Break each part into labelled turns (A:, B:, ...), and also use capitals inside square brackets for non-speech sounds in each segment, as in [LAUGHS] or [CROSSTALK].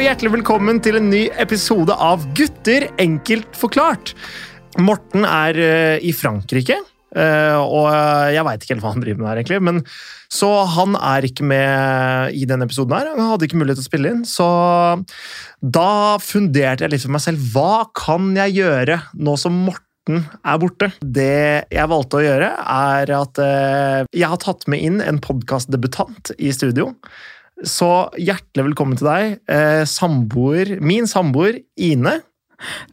A: Hjertelig velkommen til en ny episode av Gutter enkelt forklart. Morten er eh, i Frankrike, eh, og jeg veit ikke helt hva han driver med der, egentlig. Men, så han er ikke med i denne episoden her. Han hadde ikke mulighet til å spille inn. Så da funderte jeg litt for meg selv. Hva kan jeg gjøre nå som Morten er borte? Det jeg valgte å gjøre, er at eh, jeg har tatt med inn en podkastdebutant i studio. Så hjertelig velkommen til deg, eh, samboer, min samboer Ine.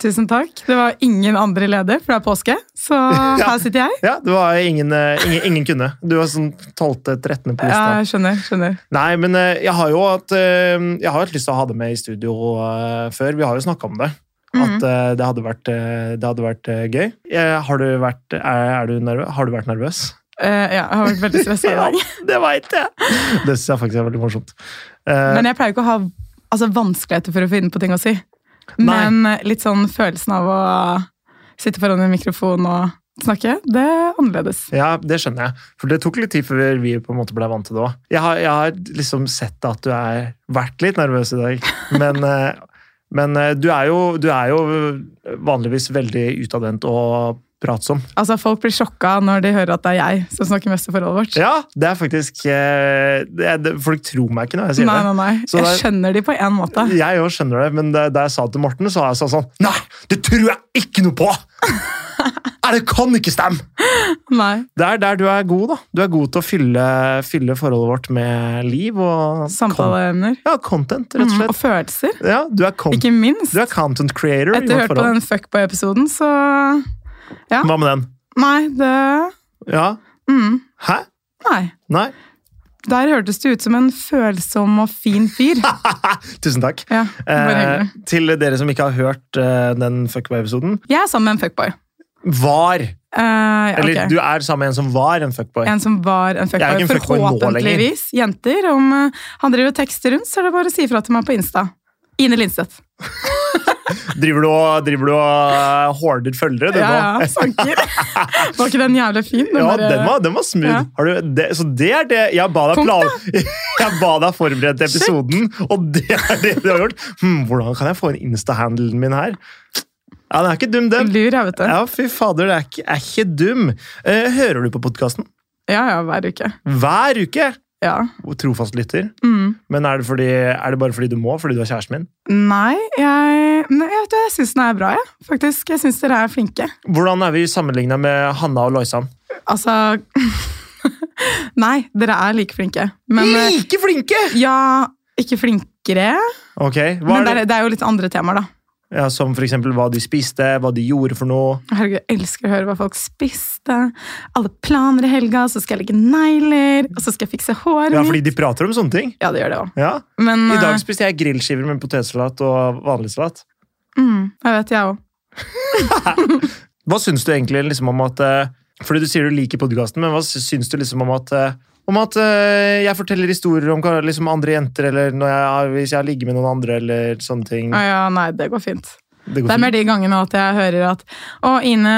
B: Tusen takk. Det var ingen andre leder, for det er påske. Så her sitter jeg.
A: [LAUGHS] Ja, Det var ingen, eh, ingen, ingen kunne. Du var sånn 12.-13. på lista.
B: Ja, jeg skjønner. skjønner.
A: Nei, men eh, jeg har jo hatt, eh, jeg har hatt lyst til å ha det med i studio eh, før. Vi har jo snakka om det.
B: Mhm.
A: At eh, det hadde vært, eh, det hadde vært eh, gøy. Eh, Har du vært, er, er du nervøs? Har du vært nervøs?
B: Eh, ja, jeg har vært veldig stressa i
A: [LAUGHS]
B: dag.
A: det veit jeg! Det syns jeg faktisk er veldig morsomt. Eh,
B: Men jeg pleier ikke å ha altså, vanskeligheter for å finne på ting å si.
A: Nei.
B: Men eh, litt sånn følelsen av å sitte foran en mikrofon og snakke, det er annerledes.
A: Ja, det skjønner jeg. For det tok litt tid før vi på en måte ble vant til det òg. Jeg, har- jeg har liksom sett at du har vært litt nervøs i dag, men, eh, men eh, du, er jo, du er jo vanligvis veldig utadvendt og pratsom.
B: Altså, Folk blir sjokka når de hører at det er jeg som snakker mest i forholdet vårt.
A: Ja, det er faktisk eh, det er, det, Folk tror meg ikke når jeg sier
B: Nei,
A: det.
B: nei, nei.
A: Så
B: Jeg
A: det
B: skjønner de på én måte.
A: Jeg òg skjønner det, men da da jeg sa det til Morten, så var jeg sånn sånn Nei, det tror jeg ikke noe på! Nei, det kan ikke stemme!
B: Nei.
A: Det er der du er god, da. Du er god til å fylle, fylle forholdet vårt med liv og
B: Samtaleemner.
A: Ja, content, rett og
B: Mm, og
A: slett.
B: følelser,
A: Ja, du er, con
B: ikke minst.
A: du er content creator. i
B: Etter å
A: vårt
B: ha hørt på
A: forhold.
B: den fuckboy-episoden, så ja.
A: Hva med den?
B: Nei, det
A: Ja.
B: mm,
A: Hæ?
B: Nei.
A: Nei?
B: Der hørtes du ut som en følsom og fin
A: [LAUGHS]
B: fyr.
A: Tusen takk.
B: Ja, bare
A: Eh,
B: hyggelig.
A: til dere som ikke har hørt eh, den fuckboy-episoden.
B: Jeg er sammen med en fuckboy.
A: Var!
B: Eh, ja,
A: Eller
B: ok.
A: du er sammen med en som var en fuckboy.
B: En som var en
A: Jeg er
B: fuckboy.
A: ikke en fuckboy nå
B: Forhåpentligvis. Jenter. Om eh, han driver og tekster rundt, så er det bare å si ifra til meg på Insta. Ine Lindstedt.
A: Driver du og, driver du og eh, hoarder følgere, du
B: Ja,
A: nå?
B: ja, sanker.
A: [LAUGHS]
B: Var ikke den jævlig fin?
A: Ja,
B: der, eh,
A: den var, den var smooth.
B: ja.
A: Har du, det, så det er det Jeg ba deg,
B: Punkt,
A: plan, [LAUGHS] jeg ba deg forberede episoden, og det er det du har gjort. Hmm, hvordan kan jeg få inn Insta-handelen min her? Ja, Den er ikke dum, den.
B: Lur, jeg, vet du.
A: Ja, fy fader, det er ikke, er ikke dum. Eh, hører du på podkasten?
B: Ja, ja, hver uke.
A: Hver uke!
B: Ja.
A: Trofast lytter.
B: Mm.
A: Men er det, fordi, er det bare fordi du må, fordi du er kjæresten min?
B: Nei, jeg, nei, jeg, vet du, jeg syns den er bra, jeg. Faktisk. Jeg syns dere er flinke.
A: Hvordan er vi sammenligna med Hanna og Loisan?
B: Altså [LAUGHS] Nei, dere er like flinke. Men eh,
A: Like flinke!
B: ja, ikke flinkere.
A: Ok, hva
B: Men det
A: er det?
B: er, det er jo litt andre temaer, da.
A: Ja, Som for eksempel hva de spiste, hva de gjorde for noe.
B: Herregud, jeg elsker å høre hva folk spiste. Alle planer i helga, så skal jeg legge negler, og så skal jeg fikse håret
A: Ja,
B: mitt.
A: Fordi de prater om sånne ting.
B: Ja, det gjør det òg.
A: Ja.
B: Men
A: I dag
B: eh,
A: spiste jeg grillskiver med potetsalat og vanlig salat.
B: mm, jeg vet, jeg òg.
A: Hva syns du egentlig liksom om at eh, Fordi du sier du liker podkasten, men hva syns du liksom om at eh, om at eh, jeg forteller historier om hva- liksom andre jenter, eller når jeg, har- hvis jeg har ligget med noen andre, eller sånne ting.
B: Å ja, nei, det går fint.
A: Det går
B: Det er mer
A: fint.
B: de gangene at jeg hører at Å, Ine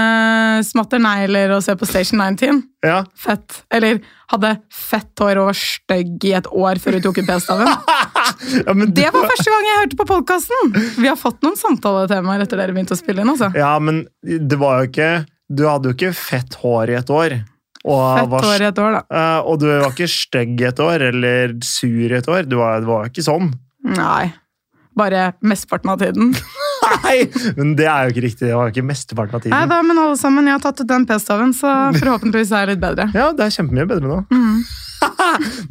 B: smatter negler og ser på Station 19.
A: Ja. [LAUGHS]
B: Fett. Eller hadde fett hår og var stygg i et år før hun tok ut p-staven.
A: Ja, men, du-
B: Det var første gang jeg hørte på podkasten! Vi har fått noen samtaletemaer etter dere begynte å spille inn. altså.
A: ja, men det var jo ikke Du hadde jo ikke fett hår i et år. Og,
B: Fett
A: var,
B: hår i et år, da.
A: eh, og du var ikke stygg i et år, eller sur i et år. Du var, det var ikke sånn. [LAUGHS]
B: Nei. Bare mesteparten av tiden.
A: Nei! Men det er jo ikke riktig. Det var jo ikke mesteparten av
B: Nei
A: tiden.
B: da, men alle sammen, jeg har tatt ut den p-staven, så forhåpentligvis er jeg litt
A: [LAUGHS]
B: bedre. Mm.
A: Ja, det er kjempemye bedre nå.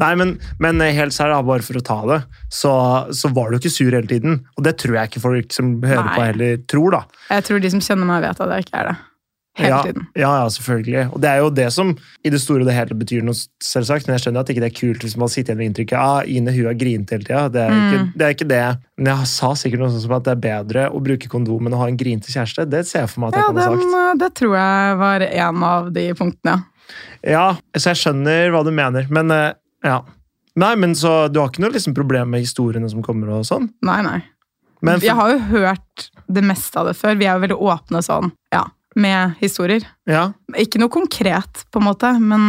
A: Nei, men, men helt sær, da, bare for å ta det, så, så var du ikke sur hele tiden. Og det tror jeg ikke folk som hører
B: Nei.
A: på heller tror, da.
B: Jeg tror de som kjenner meg, vet at jeg ikke er det. Hele
A: ja,
B: tiden.
A: Ja, ja, selvfølgelig. Og det er jo det som i det store og det hele betyr noe, selvsagt. Men jeg skjønner at ikke det er kult hvis man sitter igjen med inntrykket ah, Ine hun har grint hele tida. Det, er ikke-
B: Mm.
A: det er ikke det. Men jeg sa sikkert noe sånt som at det er bedre å bruke kondom enn å ha en grinete kjæreste. Det ser jeg for meg at
B: Ja,
A: jeg kan ha
B: den,
A: sagt.
B: eh, det tror jeg var en av de punktene.
A: Ja, så jeg skjønner hva du mener, men eh, ja. Nei, men så du har ikke noe liksom, problem med historiene som kommer og sånn?
B: Nei, nei.
A: Men for,
B: Jeg har jo hørt det meste av det før. Vi er jo veldig åpne sånn, ja, med historier.
A: ja.
B: Ikke noe konkret, på en måte, men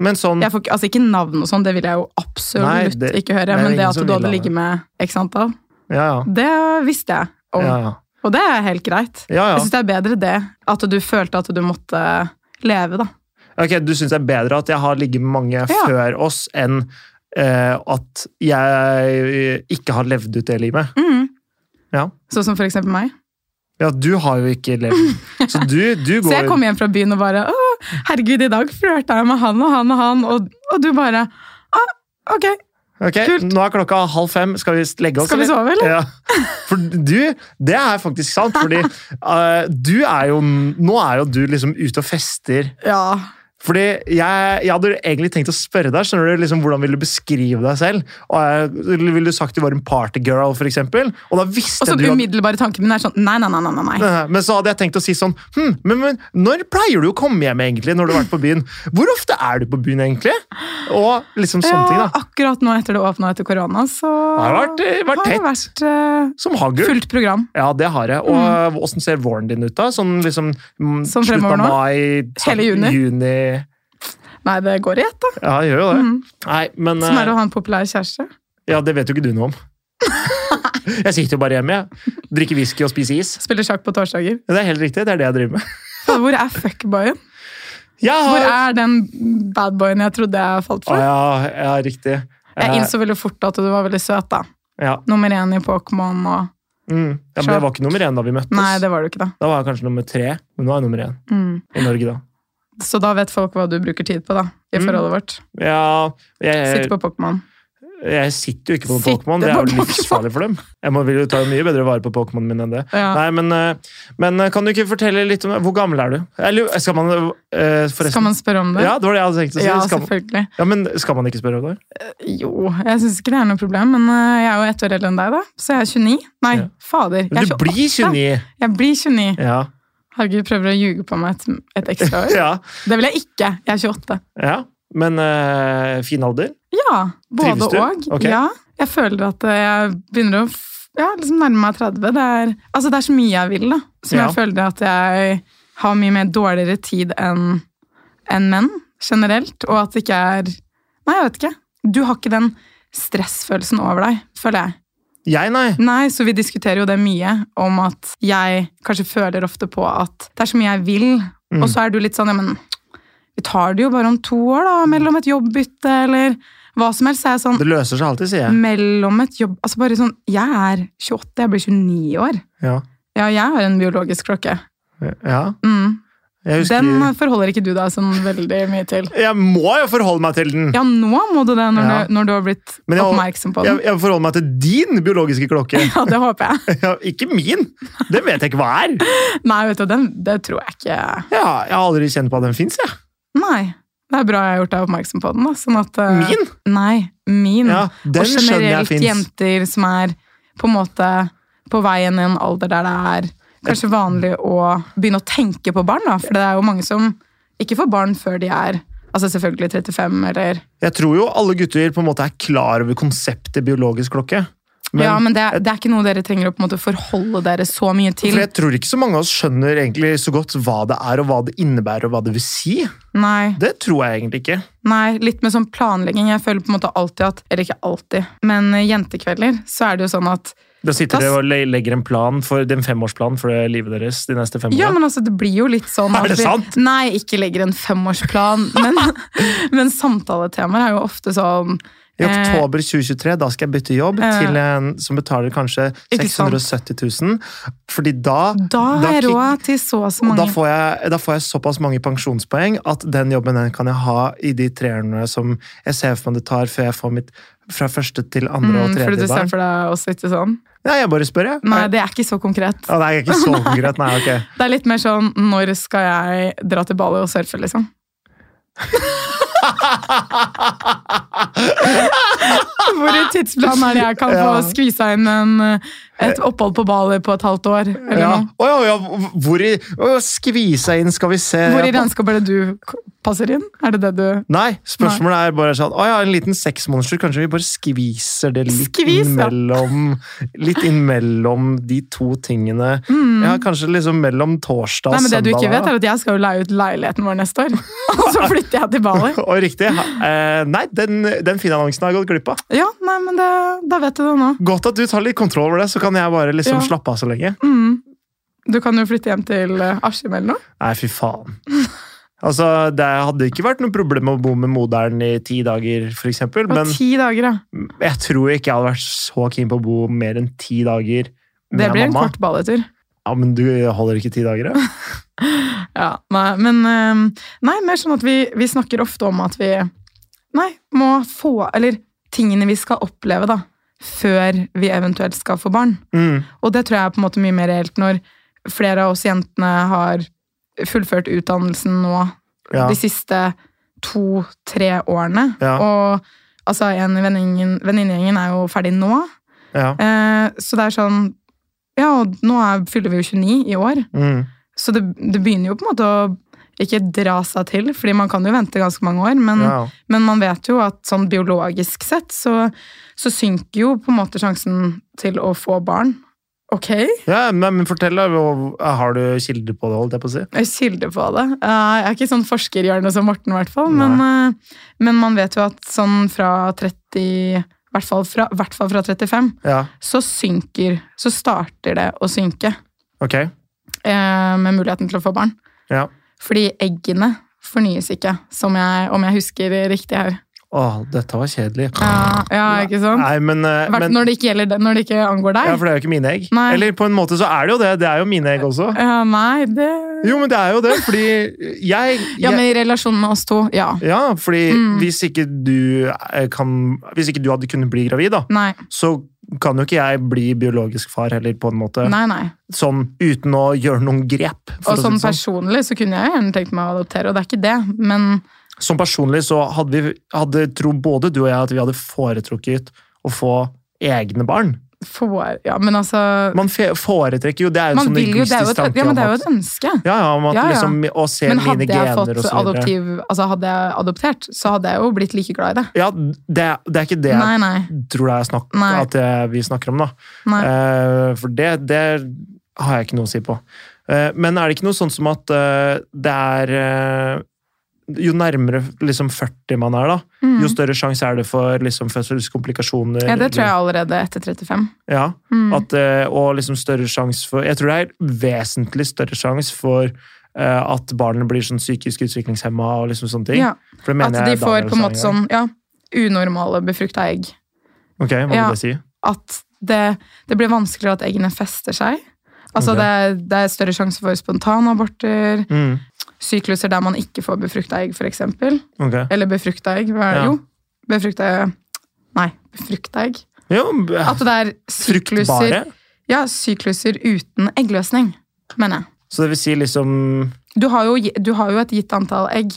A: Men sånn,
B: Jeg får, ikke- altså Ikke navn og sånn, det vil jeg jo absolutt
A: Nei, det-
B: ikke høre.
A: det er
B: men
A: ingen
B: det at
A: som
B: du
A: vil ha
B: hadde
A: det.
B: ligget med x antall
A: Ja, ja.
B: Det visste jeg om.
A: Ja, ja.
B: Og det er helt greit.
A: ja,
B: Jeg
A: ja.
B: syns det er bedre det at du følte at du måtte leve, da.
A: Ok, Du syns det er bedre at jeg har ligget med mange før oss, enn eh, at jeg ikke har levd ut det livet?
B: Mm.
A: Ja.
B: Sånn som for eksempel meg.
A: Ja, du har jo ikke levd. Så
B: [LAUGHS]
A: du, du går
B: Så jeg kom hjem fra byen og bare Å, herregud, i dag flørta jeg med han og han og han, og, og du bare Å, ok,
A: Ok,
B: Kult.
A: Nå er klokka halv fem. Skal vi legge oss?
B: skal vi sove, eller?
A: Ja. For du, det er faktisk sant,
B: [LAUGHS]
A: fordi eh, du er jo Nå er jo du liksom ute og fester.
B: Ja.
A: Fordi jeg, jeg hadde egentlig tenkt å spørre deg skjønner du, liksom, hvordan vil du beskrive deg selv. Og jeg, Ville du sagt du var en partygirl, for eksempel? Og da visste
B: Og så
A: du at
B: umiddelbare tanken min er sånn Nei, nei, nei, nei. nei.
A: Nei, [LAUGHS] Men så hadde jeg tenkt å si sånn hm, men, men når pleier du å komme hjem, egentlig? når du har vært på byen? Hvor ofte er du på byen, egentlig? Og liksom sånne ting,
B: Ja,
A: da.
B: akkurat nå etter det åpna etter korona, så
A: Det har vært, vært
B: har det
A: tett.
B: vært eh,
A: Som hagl.
B: fullt program.
A: Ja, det har jeg. Og eh, åssen ser våren din ut, da? Sånn liksom mm,
B: Sånn
A: slutten
B: Mm. fremover
A: av
B: nå?
A: mai, sånn
B: Hele juni?
A: juni.
B: Nei, det går i ett, da.
A: Ja, jeg gjør jo det.
B: Mm.
A: Nei, men
B: Sånn er det
A: eh,
B: å ha en populær kjæreste.
A: Ja, det vet jo ikke du
B: [LAUGHS]
A: noe om. jeg sitter jo bare hjemme, jeg. Drikker whisky og spiser is.
B: Spiller sjakk på torsdager.
A: Det er helt riktig, det er det jeg driver med.
B: Faen, Hvor er
A: [LAUGHS]
B: fuckboyen?
A: Jeg
B: Hvor
A: har...
B: er den badboyen jeg trodde jeg falt
A: Å
B: for?
A: ja, ja, riktig.
B: Jeg
A: Eh,
B: innså veldig fort at du var veldig søt, da.
A: ja.
B: Nummer én i Pokémon og
A: Mm. ja, men det var ikke nummer én da vi møttes.
B: Nei, det var du ikke, da.
A: Da var jeg kanskje nummer tre, men nå er jeg nummer én
B: Mm.
A: i Norge, da.
B: Så da vet folk hva du bruker tid på, da. I
A: Mm. Eh,
B: forholdet vårt.
A: Ja, jeg,
B: Sitte på Pokémon.
A: jeg sitter jo ikke på noen
B: Sitter
A: Pokémon. Det er
B: på
A: jo
B: Pokémon.
A: livsfarlig for dem. Jeg må, vil jo ta mye bedre vare på Pokémonen min enn det.
B: Ja.
A: Nei, men, eh, men eh, kan du ikke fortelle litt om Hvor gammel er du? Eller skal man eh, forresten
B: Skal man spørre om det?
A: Ja, det var det jeg hadde tenkt å si.
B: Ja,
A: skal, man-
B: selvfølgelig.
A: ja, men skal man ikke spørre om det?
B: Jo, jeg syns ikke det er noe problem, men øh, jeg er jo ett år eldre enn deg, da. Så jeg er 29. Nei,
A: Ja.
B: fader. Jeg
A: Men
B: er
A: du
B: 28.
A: blir 29!
B: Jeg blir 29.
A: Ja.
B: Herregud, prøver å ljuge på meg et, et ekstra år.
A: ja,
B: Det vil jeg ikke. Jeg er 28.
A: ja. Men eh, fin alder.
B: Ja, både
A: Trives du?
B: og.
A: Ok.
B: Ja, jeg føler at øh, jeg begynner å f- ja, liksom nærme meg 30. Det er, altså, det er så mye jeg vil, da. Som
A: Ja.
B: jeg føler at jeg har mye mer dårligere tid enn enn menn generelt. Og at det ikke er Nei, jeg vet ikke. Du har ikke den stressfølelsen over deg, føler jeg.
A: Jeg, nei.
B: Nei, så vi diskuterer jo det mye om at jeg kanskje føler ofte på at det er så mye jeg vil,
A: Mm.
B: og så er du litt sånn, ja, men vi tar det jo bare om to år da, mellom et jobbbytte eller hva som helst. Så er jeg sånn,
A: Det løser seg alltid, sier jeg.
B: mellom et jobb, altså bare sånn, jeg er 28, jeg blir 29 år.
A: Ja.
B: Ja, jeg har en biologisk klokke.
A: ja.
B: Mm.
A: Jeg husker
B: Den forholder ikke du deg sånn veldig mye til.
A: Jeg må jo forholde meg til den!
B: Ja, nå må du det når,
A: Ja.
B: du, når du har blitt
A: Men jeg-
B: oppmerksom på
A: Jeg,
B: den. [LAUGHS]
A: jeg forholder meg til din biologiske klokke,
B: Ja, det håper jeg.
A: ja, ikke min! Den vet jeg ikke hva er.
B: Nei, vet du, den, det tror jeg ikke...
A: Ja, jeg har aldri kjent på at den fins, jeg.
B: Nei. Det er bra jeg har gjort deg oppmerksom på den. Da. Sånn at, eh,
A: Min?
B: Nei, min.
A: Ja, den
B: og
A: skjønner jeg
B: generelt
A: fins.
B: jenter som er på en måte på vei inn i en alder der det er kanskje vanlig å begynne å tenke på barn. Da. For det er jo mange som ikke får barn før de er altså selvfølgelig 35 eller
A: Jeg tror jo alle gutter på en måte er klar over konseptet biologisk klokke. Men,
B: Ja, men det, er- det er ikke noe dere trenger å på en måte forholde dere så mye til.
A: For jeg tror ikke så mange av oss skjønner egentlig så godt hva det er, og hva det innebærer, og hva det vil si.
B: Nei.
A: Det tror jeg egentlig ikke.
B: Nei, litt med sånn planlegging. Jeg føler på en måte alltid at Eller ikke alltid, men eh, jentekvelder så er det jo sånn at
A: Da sitter
B: Da s-
A: dere og le- legger en plan for den femårsplanen for det livet deres de neste fem
B: Ja,
A: årene.
B: men altså, det blir jo litt
A: [LAUGHS]
B: sånn
A: Er
B: at
A: det
B: vi-
A: sant?
B: Nei, ikke legger en femårsplan, [LAUGHS] men, men samtaletemaer er jo ofte sånn
A: I oktober 2023 da skal jeg bytte jobb
B: Eh.
A: til en som betaler kanskje
B: Ikke sant.
A: 670 000. Fordi da
B: Da har jeg
A: kick-
B: råd til så og så
A: Og da
B: mange.
A: får, jeg, da får jeg såpass mange pensjonspoeng at den jobben den kan jeg ha i de tre årene som jeg ser for meg det tar før jeg får mitt fra første til andre og
B: Mm, fordi du
A: tredje
B: ser
A: barn.
B: for deg å sitte sånn?
A: Nei, jeg bare spør, jeg.
B: Nei, det er ikke så konkret.
A: Ja, det er ikke så konkret. Nei,
B: [LAUGHS]
A: ok.
B: Det er litt mer sånn når skal jeg dra til Bali og surfe, liksom? [LAUGHS] Hvor i tidsplanen er det jeg kan
A: Ja.
B: få skvisa inn en, Et opphold på Bali på et halvt år. Eller
A: Eh. Ja.
B: noe.
A: Å ja, ja, hvor i å, Skvisa inn, skal vi se
B: Hvor i regnskap er det du k- passer inn? Er det det du
A: Nei, spørsmålet er bare sånn Å ja, en liten sexmonster. Kanskje vi bare skviser det litt
B: Skvis, ja.
A: innimellom Litt innimellom de to tingene. Ja, kanskje liksom mellom torsdag
B: Mm. Nei,
A: og søndag.
B: men Det du ikke vet,
A: da.
B: er at jeg skal jo leie ut leiligheten vår neste
A: [LAUGHS]
B: år. Og så flytter jeg til Bali.
A: Og riktig. Eh, nei, den, den fine annonsen har jeg gått glipp av.
B: Ja, nei, men det, Da vet du det nå.
A: Godt at du tar litt kontroll over det, så kan jeg bare liksom
B: Ja.
A: slappe av så lenge.
B: Mm. Du kan jo flytte hjem til eh, Askim eller noe.
A: Nei, fy faen. Altså, Det hadde ikke vært noe problem å bo med moderen i ti dager, f.eks.,
B: Det var
A: men
B: ti dager, ja.
A: jeg tror ikke jeg hadde vært så keen på å bo mer enn ti dager med
B: Det blir en
A: mamma.
B: kort Bali-tur.
A: Ja, Men du holder ikke ti dager,
B: [LAUGHS]
A: ja?
B: Ja, nei, men eh, Nei, mer sånn at vi, vi snakker ofte om at vi Nei, må få Eller tingene vi skal oppleve, da. Før vi eventuelt skal få barn.
A: Mm.
B: Og det tror jeg er på en måte mye mer reelt når flere av oss jentene har fullført utdannelsen nå
A: Ja.
B: de siste to-tre årene.
A: Ja.
B: Og altså, en i venninningen- venninnegjengen er jo ferdig nå.
A: ja.
B: Eh, så det er sånn Ja, og nå er, fyller vi jo 29 i år,
A: Mm.
B: så det, det begynner jo på en måte å ikke dra seg til, fordi man kan jo vente ganske mange år, men
A: ja.
B: men man vet jo at sånn biologisk sett så, så synker jo på en måte sjansen til å få barn. Ok,
A: ja nei, men fortell, da. Hva- Har du kilder på det, holdt jeg på å si?
B: jeg kilder på det. Eh, Jeg er ikke sånn forskerhjørne som Morten, i hvert fall. Men, eh, men man vet jo at sånn fra 30 i hvert fall fra, i hvert fall fra 35,
A: Ja,
B: så synker Så starter det å synke
A: ok.
B: eh, med muligheten til å få barn.
A: Ja.
B: Fordi eggene fornyes ikke, som jeg, om jeg husker riktig her.
A: Å, dette var kjedelig.
B: Ja, ja ikke sant?
A: Nei, men, eh,
B: Hvert-
A: men
B: når, det ikke gjelder, det- når det ikke angår deg.
A: Ja, for det er jo ikke mine egg.
B: Nei.
A: Eller på en måte så er det jo det. Det er jo mine egg også.
B: Ja, nei, det
A: Jo, men det er jo det, fordi jeg,
B: Ja,
A: jeg
B: men i relasjon med oss to, ja.
A: Ja, fordi
B: Mm.
A: hvis ikke du eh, kan Hvis ikke du hadde kunnet bli gravid, da,
B: Nei,
A: så kan jo ikke jeg bli biologisk far heller, på en måte.
B: nei, nei.
A: Sånn uten å gjøre noen grep. for å
B: Og
A: si det
B: sånn
A: sånn.
B: personlig så kunne jeg gjerne tenkt meg å adoptere, og det er ikke det, men
A: Som personlig så hadde vi hadde, tror både du og jeg at vi hadde foretrukket å få egne barn.
B: får Ja, men altså
A: Man fe foretrekker jo Det er jo en
B: Man
A: sånn
B: vil jo Det er jo
A: egoistisk
B: et,
A: tanke
B: ja, men
A: om
B: det er jo
A: at
B: et ønske.
A: ja, ja, om at
B: Ja, ja.
A: liksom Å se
B: Men
A: mine
B: hadde jeg
A: gener og så
B: fått
A: videre.
B: adoptiv Altså hadde jeg adoptert, så hadde jeg jo blitt like glad i det.
A: Ja, det, det er ikke det
B: Nei, nei.
A: jeg tror det er snakk,
B: Nei.
A: at eh, vi snakker om, da.
B: nei.
A: Eh, for det, det har jeg ikke noe å si på. Eh, men er det ikke noe sånn som at eh, det er eh, Jo nærmere liksom 40 man er, da,
B: Mm.
A: jo større sjanse er det for liksom, fødselskomplikasjoner.
B: Ja, det tror jeg allerede etter 35.
A: Ja,
B: Mm.
A: at, eh, og liksom større sjanse for Jeg tror det er vesentlig større sjanse for eh, at barnet blir sånn psykisk utviklingshemma og liksom sånne ting.
B: Ja,
A: For det
B: at
A: mener
B: de
A: jeg
B: får
A: Daniel
B: på en
A: sa gang.
B: måte sånn ja, unormale befrukta egg.
A: Ok, hva
B: sånn- Ja.
A: vil det si?
B: at det, det blir vanskeligere at eggene fester seg. Altså
A: Ok.
B: det, er, det er større sjanse for spontanaborter,
A: Mm,
B: sykluser der man ikke får befrukta egg, f.eks.
A: ok.
B: Eller befrukta egg. Hva er det?
A: Ja.
B: Jo, befrukta Nei, befrukta egg.
A: Jo,
B: At det er sykluser,
A: fruktbare.
B: ja, sykluser uten eggløsning, mener jeg.
A: Så det vil si liksom
B: Du har, jo, gi- du har jo et gitt antall egg,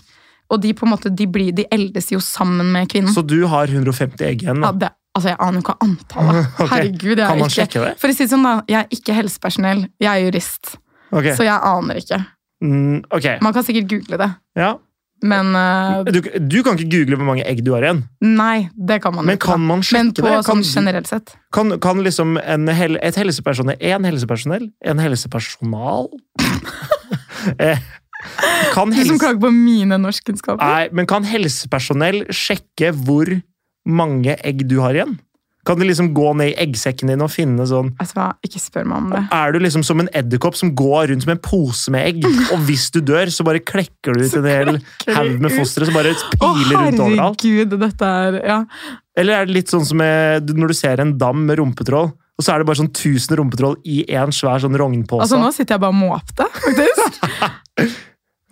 B: og de på en måte, de, blir, de eldes jo sammen med kvinnen.
A: Så du har 150 egg igjen?
B: Ja,
A: da?
B: det, altså, jeg aner jo ikke antallet.
A: [LAUGHS] Ok.
B: Herregud, jeg
A: Kan man
B: er ikke
A: sjekke det?
B: For å si det sånn da, jeg er ikke helsepersonell, jeg er jurist.
A: Ok.
B: Så jeg aner ikke.
A: Mm, ok.
B: Man kan sikkert google det,
A: Ja.
B: men eh,
A: Du, du kan ikke google hvor mange egg du har igjen,
B: nei, det kan man
A: men
B: ikke. da.
A: kan man sjekke
B: men på
A: det? Kan,
B: sånn generelt sett.
A: kan, kan liksom en, hel- et helsepersonell En helsepersonell? En helsepersonal? [LAUGHS] Eh, kan
B: Du som
A: helse,
B: klager på mine norskkunnskaper.
A: nei, men kan helsepersonell sjekke hvor mange egg du har igjen? Kan de liksom gå ned i eggsekken din og finne sånn
B: Vet du Altså, hva, ikke spør meg om det.
A: Er du liksom som en edderkopp som går rundt som en pose med [LAUGHS] egg, og hvis du dør, så bare klekker du ut en hel haug med fostre som bare
B: Å,
A: piler rundt overalt?
B: herregud, dette er ja.
A: Eller er det litt sånn som eh, du- når du ser en dam med rumpetroll, og så er det bare sånn 1000 rumpetroll i en svær sånn rognpose?
B: Altså, nå sitter jeg bare og måpte,
A: [LAUGHS]
B: faktisk.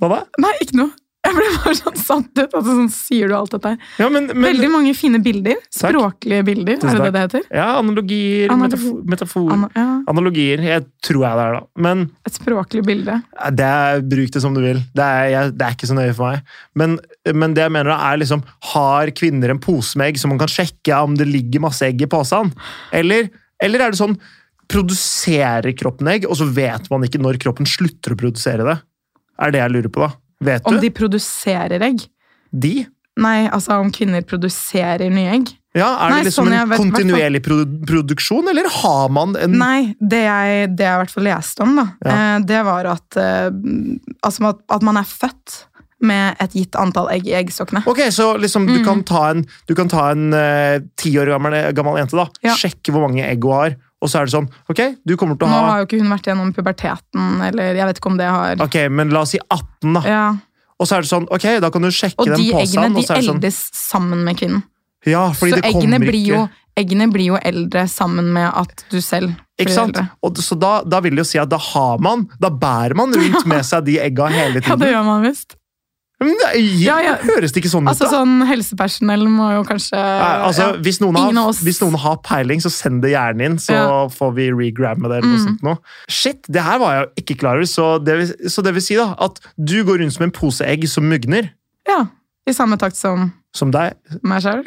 A: Hva da?
B: Nei, ikke noe. Jeg ble bare sånn satt ut. Altså, sånn sier du alt dette her.
A: Ja, men, men,
B: Veldig mange fine bilder.
A: Takk.
B: Språklige bilder,
A: Tusen Mm.
B: er det det det heter?
A: ja, analogier,
B: Analogi-
A: metafo- metafor
B: Anna, ja,
A: Analogier, jeg tror jeg det er, da. Men
B: et språklig bilde.
A: eh, det er, bruk det som du vil. Det er, jeg, det er ikke så nøye for meg. Men, men det jeg mener da er liksom Har kvinner en pose med egg som man kan sjekke om det ligger masse egg i posen? Eller, eller er det sånn Produserer kroppen egg, og så vet man ikke når kroppen slutter å produsere det? Er det jeg lurer på, da. Vet
B: Om
A: du?
B: de produserer egg?
A: De?
B: Nei, altså om kvinner produserer nye egg?
A: Ja, Er
B: Nei,
A: det liksom
B: sånn jeg
A: en
B: vet hvertfall.
A: kontinuerlig produ- produksjon, eller har man en
B: Nei, det jeg, det jeg i hvert fall leste om, da, eh, det var at, eh, altså at, at man er født med et gitt antall egg i eggstokkene.
A: Ok, så liksom
B: Mm.
A: du kan ta en Du kan ta en eh, ti år gammel, gammel jente, da.
B: Ja.
A: Sjekke hvor mange egg hun har, og så er det sånn Ok, du kommer til å
B: Nå
A: ha Ah,
B: har jo ikke hun vært gjennom puberteten, eller jeg vet ikke om det har
A: Ok, men la oss si 18, da.
B: ja.
A: Og så er det sånn Ok, da kan du sjekke
B: Og
A: den
B: de eggene
A: påstanden,
B: de
A: og så er det sånn
B: eldes sammen med kvinnen.
A: Ja, fordi
B: Så
A: det
B: eggene
A: kommer
B: blir,
A: ikke
B: jo, eggene blir jo eldre sammen med at du selv blir
A: Ikke sant?
B: eldre.
A: Og, så da, da vil det jo si at da har man Da bærer man
B: [LAUGHS]
A: rundt med seg de egga hele
B: Ja, det
A: tiden.
B: gjør man visst.
A: Men det
B: Ja, ja.
A: høres det ikke sånn ut,
B: Altså
A: da?
B: sånn Helsepersonell må jo kanskje
A: Nei, altså,
B: Eh, ja.
A: hvis, noen har,
B: Ingen av oss-
A: hvis noen har peiling, så send det gjerne inn, så
B: Ja.
A: får vi regramme det. eller noe
B: Mm.
A: sånt nå. Shit, det her var jeg jo ikke klar over. Så det, vil, så det vil si da, at du går rundt som en pose egg som mugner.
B: ja, I samme takt som
A: Som deg.
B: meg
A: [LAUGHS]
B: sjøl.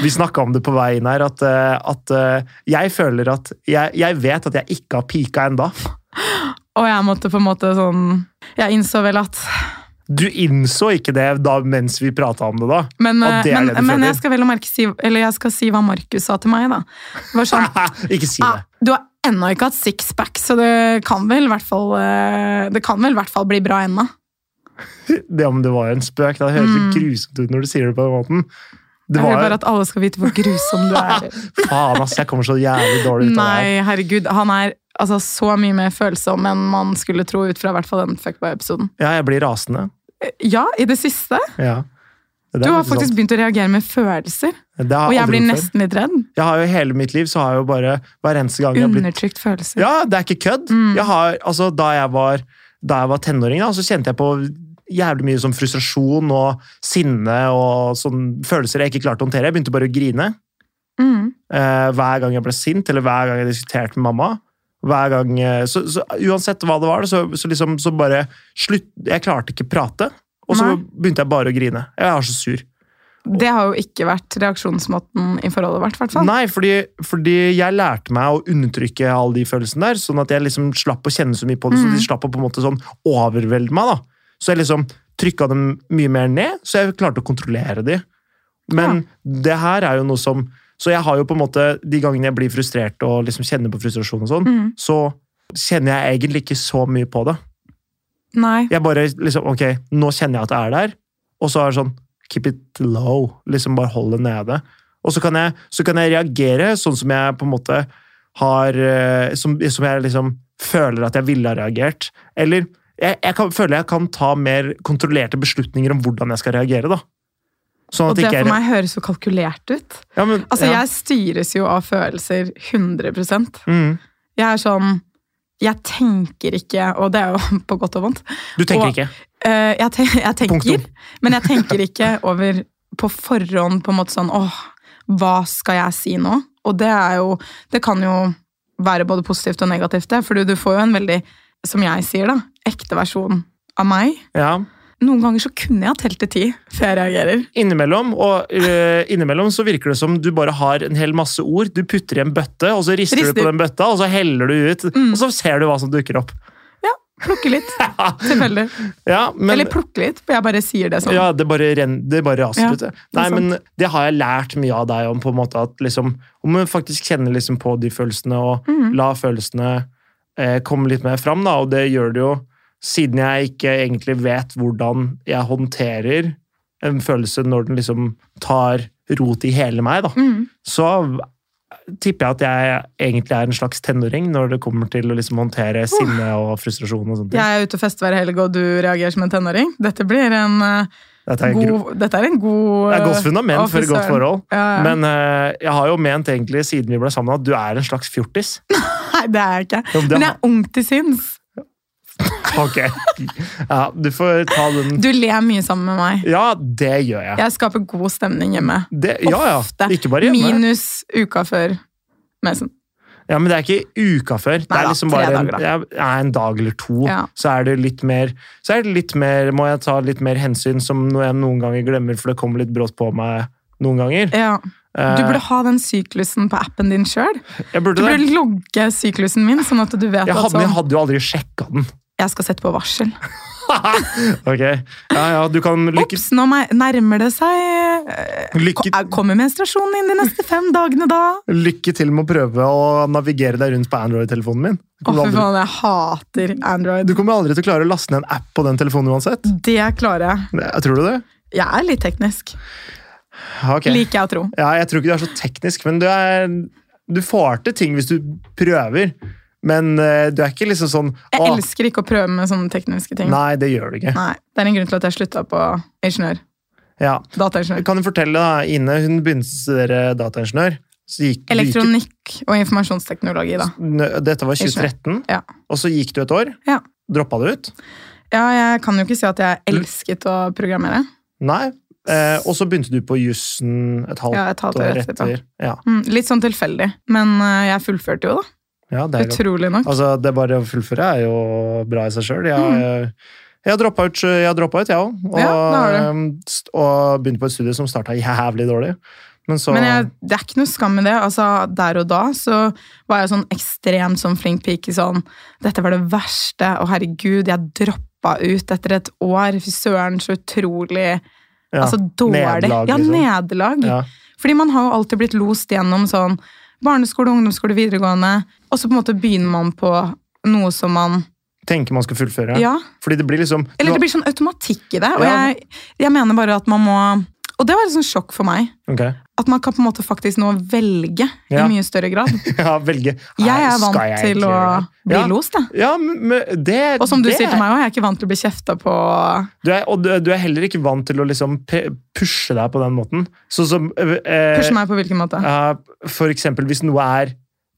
A: Vi snakka om det på vei inn her, at, eh, at eh, jeg føler at jeg, jeg vet at jeg ikke har pika enda.
B: Og jeg måtte på en måte sånn Jeg innså vel at
A: Du innså ikke det da mens vi prata om det, da. [LAUGHS]
B: Men,
A: Og det er
B: men,
A: det du
B: men
A: føler.
B: jeg skal vel å merke si, eller jeg skal si hva Markus sa til meg, da. Det var sånn
A: ikke si
B: ah,
A: det.
B: Du har ennå ikke hatt sixpack, så det kan vel i hvert fall eh, Det kan vel i hvert fall bli bra ennå.
A: Det om det var en spøk. da. Det høres
B: Mm.
A: jo grusomt ut når du sier det på den måten. Det
B: Jeg vil
A: var
B: bare at alle skal vite hvor grusom du
A: [LAUGHS]
B: er.
A: Faen, ass, jeg kommer så jævlig dårlig ut av det her.
B: Nei, herregud. Han er altså, så mye mer følsom enn man skulle tro ut fra i hvert fall den fuckboy-episoden.
A: Ja, jeg blir rasende.
B: Eh, Ja, i det siste.
A: Ja. Det
B: Du
A: er
B: har faktisk
A: sant.
B: begynt å reagere med følelser.
A: Det har
B: Og
A: jeg
B: jeg
A: aldri
B: blir
A: gjort før.
B: nesten litt redd.
A: Jeg har jo hele mitt liv, så har jeg jo bare hver eneste gang jeg har blitt
B: Undertrykt følelser.
A: Ja, det er ikke kødd.
B: Mm.
A: Jeg har, altså, da, jeg var, da jeg var tenåring, da, så kjente jeg på jævlig mye sånn frustrasjon og sinne og sånn følelser jeg ikke klarte å håndtere. Jeg begynte bare å grine
B: Mm.
A: eh, hver gang jeg ble sint, eller hver gang jeg diskuterte med mamma. Hver gang, eh, så, så Uansett hva det var, så, så liksom så bare slutt, Jeg klarte ikke prate. Og så
B: Nei.
A: begynte jeg bare å grine. Jeg er så sur.
B: Det har jo ikke vært reaksjonsmåten i forholdet vårt, i hvert fall.
A: Nei, fordi, fordi jeg lærte meg å undertrykke alle de følelsene der, sånn at jeg liksom slapp å kjenne så mye på det, så
B: Mhm.
A: de slapp å på en måte sånn overvelde meg. da. Så jeg liksom trykka dem mye mer ned, så jeg klarte å kontrollere de. Men det her er jo noe som Så jeg har jo på en måte, de gangene jeg blir frustrert og liksom kjenner på frustrasjon og sånn,
B: Mm.
A: så kjenner jeg egentlig ikke så mye på det.
B: Nei.
A: Jeg bare liksom Ok, nå kjenner jeg at det er der. Og så er det sånn Keep it low. Liksom bare hold det nede. Og så kan jeg, så kan jeg reagere sånn som jeg på en måte har eh, Som, som jeg liksom føler at jeg ville ha reagert. Eller jeg, jeg kan, føler jeg kan ta mer kontrollerte beslutninger om hvordan jeg skal reagere, da. Sånn
B: Og
A: at
B: det
A: ikke jeg
B: for meg høres jo kalkulert ut.
A: ja, men,
B: Altså,
A: ja.
B: jeg styres jo av følelser 100 Jeg
A: Mm.
B: er sånn Jeg tenker ikke, og det er jo [LAUGHS] på godt og vondt
A: Du tenker
B: Og-
A: ikke.
B: Eh, jeg, ten jeg tenker,
A: Punktum.
B: men jeg tenker ikke over på forhånd på en måte sånn åh, hva skal jeg si nå? Og det er jo Det kan jo være både positivt og negativt, det. For du får jo en veldig, som jeg sier, da, ekte versjon av meg.
A: Ja.
B: Noen ganger så kunne jeg ha telt til ti før jeg reagerer.
A: Innimellom, og, eh, innimellom så virker det som du bare har en hel masse ord. Du putter i en bøtte, og så rister, du
B: Rister. Mm.
A: på den bøtta, og så heller du ut. Og så ser du hva som dukker opp. [LAUGHS]
B: Plukke litt, selvfølgelig.
A: Ja, men,
B: Eller plukke litt, for jeg bare sier det sånn.
A: ja det, bare ren, det bare raser
B: Ja,
A: ut. det. Nei,
B: sant.
A: men det har jeg lært mye av deg om, på en måte at liksom, om man faktisk kjenner liksom på de følelsene, og
B: Mm.
A: la følelsene eh, komme litt mer fram, da, og det gjør det jo siden jeg ikke egentlig vet hvordan jeg håndterer en følelse når den liksom tar rot i hele meg, da.
B: Mm.
A: så tipper jeg at jeg egentlig er en slags tenåring når det kommer til å liksom håndtere sinne og frustrasjon og sånne ting.
B: Jeg er ute og fester hver helg, og du reagerer som en tenåring. Dette blir en eh,
A: Dette er gro-
B: god Dette er en god
A: det er
B: eh,
A: godt fundament for et godt
B: offiseren.
A: forhold.
B: ja, ja.
A: Men eh, jeg har jo ment egentlig siden vi ble sammen at du er en slags
B: [LAUGHS]
A: fjortis.
B: Nei, det er jeg ikke.
A: Jo, men det
B: Men jeg er ung til sinns.
A: Ok. Ja, du får ta den.
B: Du ler mye sammen med meg.
A: Ja, det gjør jeg.
B: Jeg skaper god stemning hjemme.
A: Det, ja, ja.
B: Ofte.
A: Ikke bare hjemme.
B: Minus uka før mensen.
A: Ja, men det er ikke uka før. Det
B: Nei
A: er
B: da,
A: liksom
B: tre
A: bare en,
B: dager da.
A: ja, en dag eller to.
B: Ja.
A: Så er det litt mer Så er det litt mer, må jeg ta litt mer hensyn, som noe jeg noen ganger glemmer, for det kommer litt brått på meg noen ganger.
B: Ja.
A: Eh,
B: Du burde ha den syklusen på appen din sjøl.
A: jeg
B: Du
A: burde det.
B: burde logge syklusen min, sånn at du vet
A: Jeg
B: at
A: hadde, jeg
B: sånn,
A: hadde jo aldri sjekka den. [LAUGHS]
B: jeg skal sette på varsel.
A: ok, ja, ja, Du kan lykke,
B: Ops, nå me- nærmer det seg eh,
A: lykke,
B: ko- Kommer menstruasjonen inn de neste fem dagene da?
A: lykke til med å prøve å navigere deg rundt på Android-telefonen min. Du
B: Å, fy
A: kommer, aldri,
B: faen, jeg hater Android.
A: du kommer aldri til å klare å laste ned en app på den telefonen uansett.
B: Det klarer jeg.
A: Det- Tror du det?
B: Jeg er litt teknisk.
A: Ok.
B: Liker jeg å tro.
A: Ja, jeg tror ikke du er så teknisk, men du, er, du får til ting hvis du prøver. Men eh, du er ikke liksom sånn
B: Jeg
A: «Åh,
B: elsker ikke å prøve med sånne tekniske ting.
A: Nei, det gjør du ikke.
B: Nei, Det er en grunn til at jeg slutta på ingeniør.
A: Ja.
B: Dataingeniør.
A: Kan du fortelle, da, Ine, hun begynte å studere dataingeniør. Så gikk, du gikk-
B: Elektronikk og informasjonsteknologi, da.
A: Nø- Dette var 2013,
B: Ja.
A: og så gikk du et år.
B: Ja.
A: Droppa det ut?
B: Ja, jeg kan jo ikke si at jeg elsket å programmere.
A: Nei. Eh, og så begynte du på jussen et halvt
B: Ja, et halvt
A: år
B: år etterpå.
A: etter. Ja,
B: Mm, litt sånn tilfeldig, men eh, jeg fullførte jo, da.
A: ja det er jo
B: Utrolig nok.
A: Altså, det bare å fullføre er jo bra i seg sjøl. Jeg, jeg har droppa ut, jeg har droppet ut, jeg òg. Og,
B: Mm. Ja, det har du.
A: um, st- og begynte på et studie som starta jævlig dårlig. Men så
B: Men jeg, det er ikke noe skam i det. Altså, der og da så var jeg sånn ekstremt sånn flink pike. Sånn, dette var det verste, og herregud, jeg droppa ut etter et år. Fy søren, så utrolig
A: ja,
B: altså, dårlig.
A: nederlag,
B: ja,
A: liksom.
B: nederlag.
A: ja.
B: Fordi man har jo alltid blitt lost gjennom sånn barneskole, ungdomsskole, videregående. Og så på en måte begynner man på noe som man
A: Tenker man skal fullføre.
B: Ja.
A: Fordi det blir liksom
B: Eller
A: nå-
B: det blir sånn automatikk i det. Og
A: Ja.
B: jeg, jeg mener bare at man må Og det var et sånt sjokk for meg.
A: Ok. [LAUGHS]
B: At man kan på en måte faktisk nå velge
A: Ja.
B: i mye større grad.
A: Ja, velge. Nei,
B: Jeg er
A: skal
B: vant
A: jeg
B: til
A: egentlig
B: å
A: gjøre det?
B: bli
A: ja.
B: lost, jeg.
A: Ja, men det
B: Og som du
A: det,
B: sier til meg òg, jeg er ikke vant til å bli kjefta på.
A: du er, Og du, du er heller ikke vant til å liksom pe- pushe deg på den måten. Sånn som eh, eh,
B: Pushe meg på hvilken måte?
A: Ja, for eksempel hvis noe er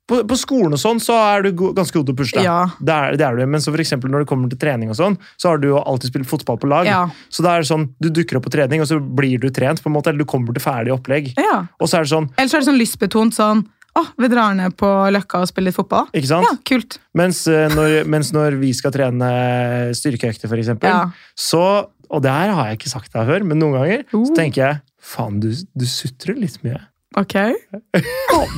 A: på, på skolen og sånn, så er du go ganske god til å pushe deg.
B: Ja.
A: Det er, det er du, men så for eksempel når det kommer til trening og sånn, så har du jo alltid spilt fotball på lag.
B: Ja.
A: Så da er det sånn, du dukker opp på trening, og så blir du trent, på en måte, eller du kommer til ferdig opplegg.
B: ja.
A: Og så er det sånn,
B: Eller så er det sånn lystbetont sånn Å, vi drar ned på Løkka og spiller litt fotball.
A: ikke sant?
B: Ja, kult.
A: Mens, eh, når, mens når vi skal trene styrkeøkter, for eksempel,
B: Ja.
A: så, og det her har jeg ikke sagt deg før, men noen ganger,
B: Uh.
A: så tenker jeg, faen, du, du sutrer litt mye.
B: Ok. Nei,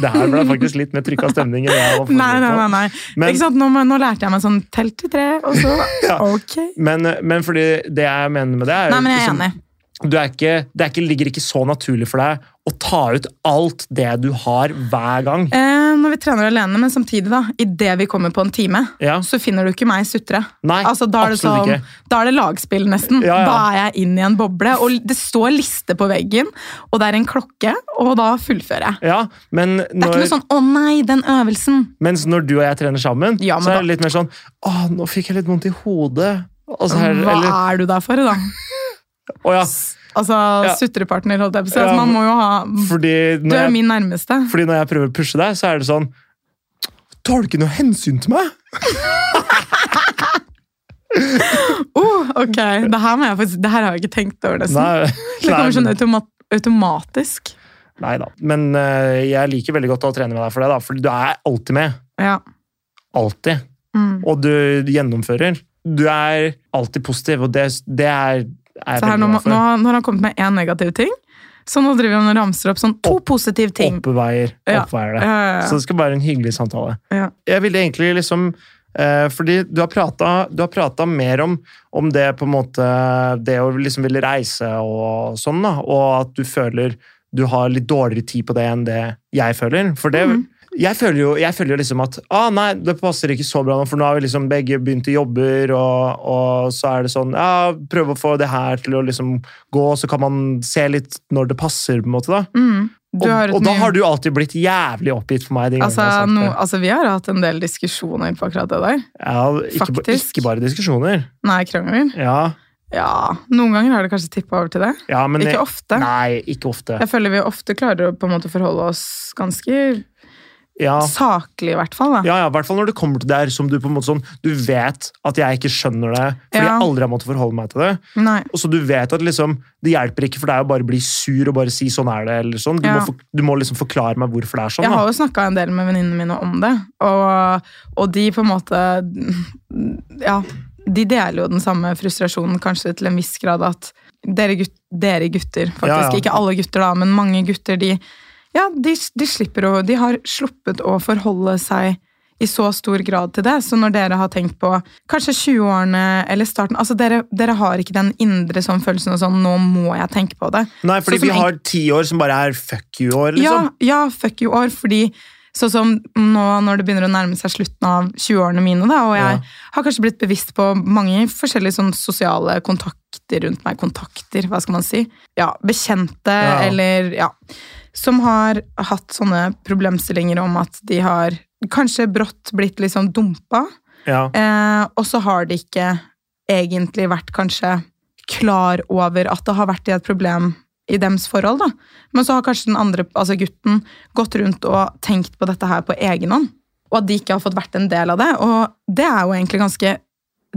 A: Det her ble faktisk litt mer trykk av stemning enn jeg var forberedt
B: nei,
A: på.
B: nei. nei.
A: Men-
B: ikke sant? Nå, må- nå lærte jeg meg sånn telt til tre, og så
A: [LAUGHS] Ja.
B: Ok.
A: Men, eh, men fordi det jeg mener med det er, jo
B: Nei, men jeg er
A: liksom,
B: enig.
A: Du er ikke, det er ikke, ligger ikke så naturlig for deg å ta ut alt det du har hver gang.
B: Eh, når vi trener alene, men samtidig, da, idet vi kommer på en time,
A: Ja.
B: så finner du ikke meg sutre.
A: Nei,
B: Altså, da er det
A: absolutt
B: sånn-
A: ikke.
B: Da er det lagspill, nesten.
A: Ja, ja.
B: Da er jeg inn i en boble. Og det står liste på veggen, og det er en klokke, og da fullfører jeg.
A: Ja, men
B: Det er ikke
A: når,
B: noe sånn 'Å nei, den øvelsen'.
A: mens når du og jeg trener sammen,
B: Ja, men
A: så
B: da-
A: er det litt mer sånn Å, nå fikk jeg litt vondt i hodet. Og så her, eller,
B: Sånn, Hva er du der for, da?
A: å ja,
B: Altså,
A: Ja.
B: sutrepartner, holdt jeg på å si.
A: Ja,
B: Altså, man må jo ha
A: fordi,
B: Du
A: når
B: er
A: jeg,
B: min nærmeste.
A: fordi når jeg prøver å pushe deg, så er det sånn Tar du ikke noe hensyn til meg?
B: Oh, ok, det her, må jeg faktisk, det her har jeg ikke tenkt over nesten.
A: Nei,
B: [LAUGHS] det kommer sånn
A: nei,
B: automa automatisk.
A: nei da. Men eh, jeg liker veldig godt å trene med deg for det, da, for du er alltid med.
B: Ja.
A: Alltid.
B: Mm.
A: og du du gjennomfører. Du er alltid positiv, og det, det er, er jeg
B: Så her, nå,
A: veldig glad
B: må- nå,
A: for.
B: har- nå har han kommet med én negativ ting, så nå driver han og ramser opp sånn to positive ting.
A: Oppveier,
B: Ja.
A: oppveier det.
B: Ja, ja,
A: Så det skal være en hyggelig samtale.
B: ja.
A: Jeg ville egentlig liksom eh, Fordi du har prata, du har prata mer om, om det på en måte Det å liksom ville reise og sånn, da, og at du føler du har litt dårligere tid på det enn det jeg føler. For det
B: Mhm.
A: Jeg føler jo jeg føler jo liksom at ah, nei, det passer ikke så bra nå, for nå har vi liksom begge begynt i jobber, og, og så er det sånn ja, Prøve å få det her til å liksom gå, så kan man se litt når det passer, på en måte. da.
B: Mm.
A: Og,
B: Du har et
A: og da
B: mye-
A: har du alltid blitt jævlig oppgitt for meg. de gangene jeg har
B: altså,
A: sagt det.
B: no, altså, vi har hatt en del diskusjoner på akkurat det der.
A: Ja, ikke, ba-
B: Faktisk.
A: ikke bare diskusjoner.
B: Nei, krangler.
A: Ja,
B: Ja, noen ganger har det kanskje tippa over til det.
A: ja men
B: Ikke ofte.
A: Nei, ikke ofte.
B: Jeg føler vi ofte klarer å på en måte forholde oss ganske
A: Ja.
B: saklig, i hvert fall. Da.
A: Ja, ja, I hvert fall når det kommer til der som du på en måte sånn Du vet at jeg ikke skjønner det, fordi
B: Ja.
A: jeg aldri har måttet forholde meg til det.
B: Nei.
A: Og så du vet at liksom Det hjelper ikke for deg å bare bli sur og bare si 'sånn er det', eller sånn. Du,
B: Ja.
A: må, for, du må liksom forklare meg hvorfor det er sånn.
B: Jeg har
A: Da.
B: jo snakka en del med venninnene mine om det, og, og de på en måte Ja, de deler jo den samme frustrasjonen kanskje til en viss grad at dere, gut, dere gutter, faktisk,
A: Ja, ja.
B: ikke alle gutter da, men mange gutter, de Ja, de, de slipper å De har sluppet å forholde seg i så stor grad til det. Så når dere har tenkt på kanskje 20-årene eller starten altså dere, dere har ikke den indre sånn følelsen av sånn 'nå må jeg tenke på det'.
A: Nei, fordi
B: Sånn som
A: vi har ti år som bare er fuck you-år, liksom.
B: Ja, ja fuck you-år, fordi sånn som nå når det begynner å nærme seg slutten av 20-årene mine, da, og jeg
A: Ja.
B: har kanskje blitt bevisst på mange forskjellige sånn sosiale kontakter rundt meg, kontakter, hva skal man si, ja, bekjente
A: Ja.
B: eller ja, som har hatt sånne problemstillinger om at de har kanskje brått blitt liksom dumpa,
A: Ja.
B: eh, og så har de ikke egentlig vært kanskje klar over at det har vært i et problem i dems forhold, da. Men så har kanskje den andre, altså gutten, gått rundt og tenkt på dette her på egen hånd. Og at de ikke har fått vært en del av det. Og det er jo egentlig ganske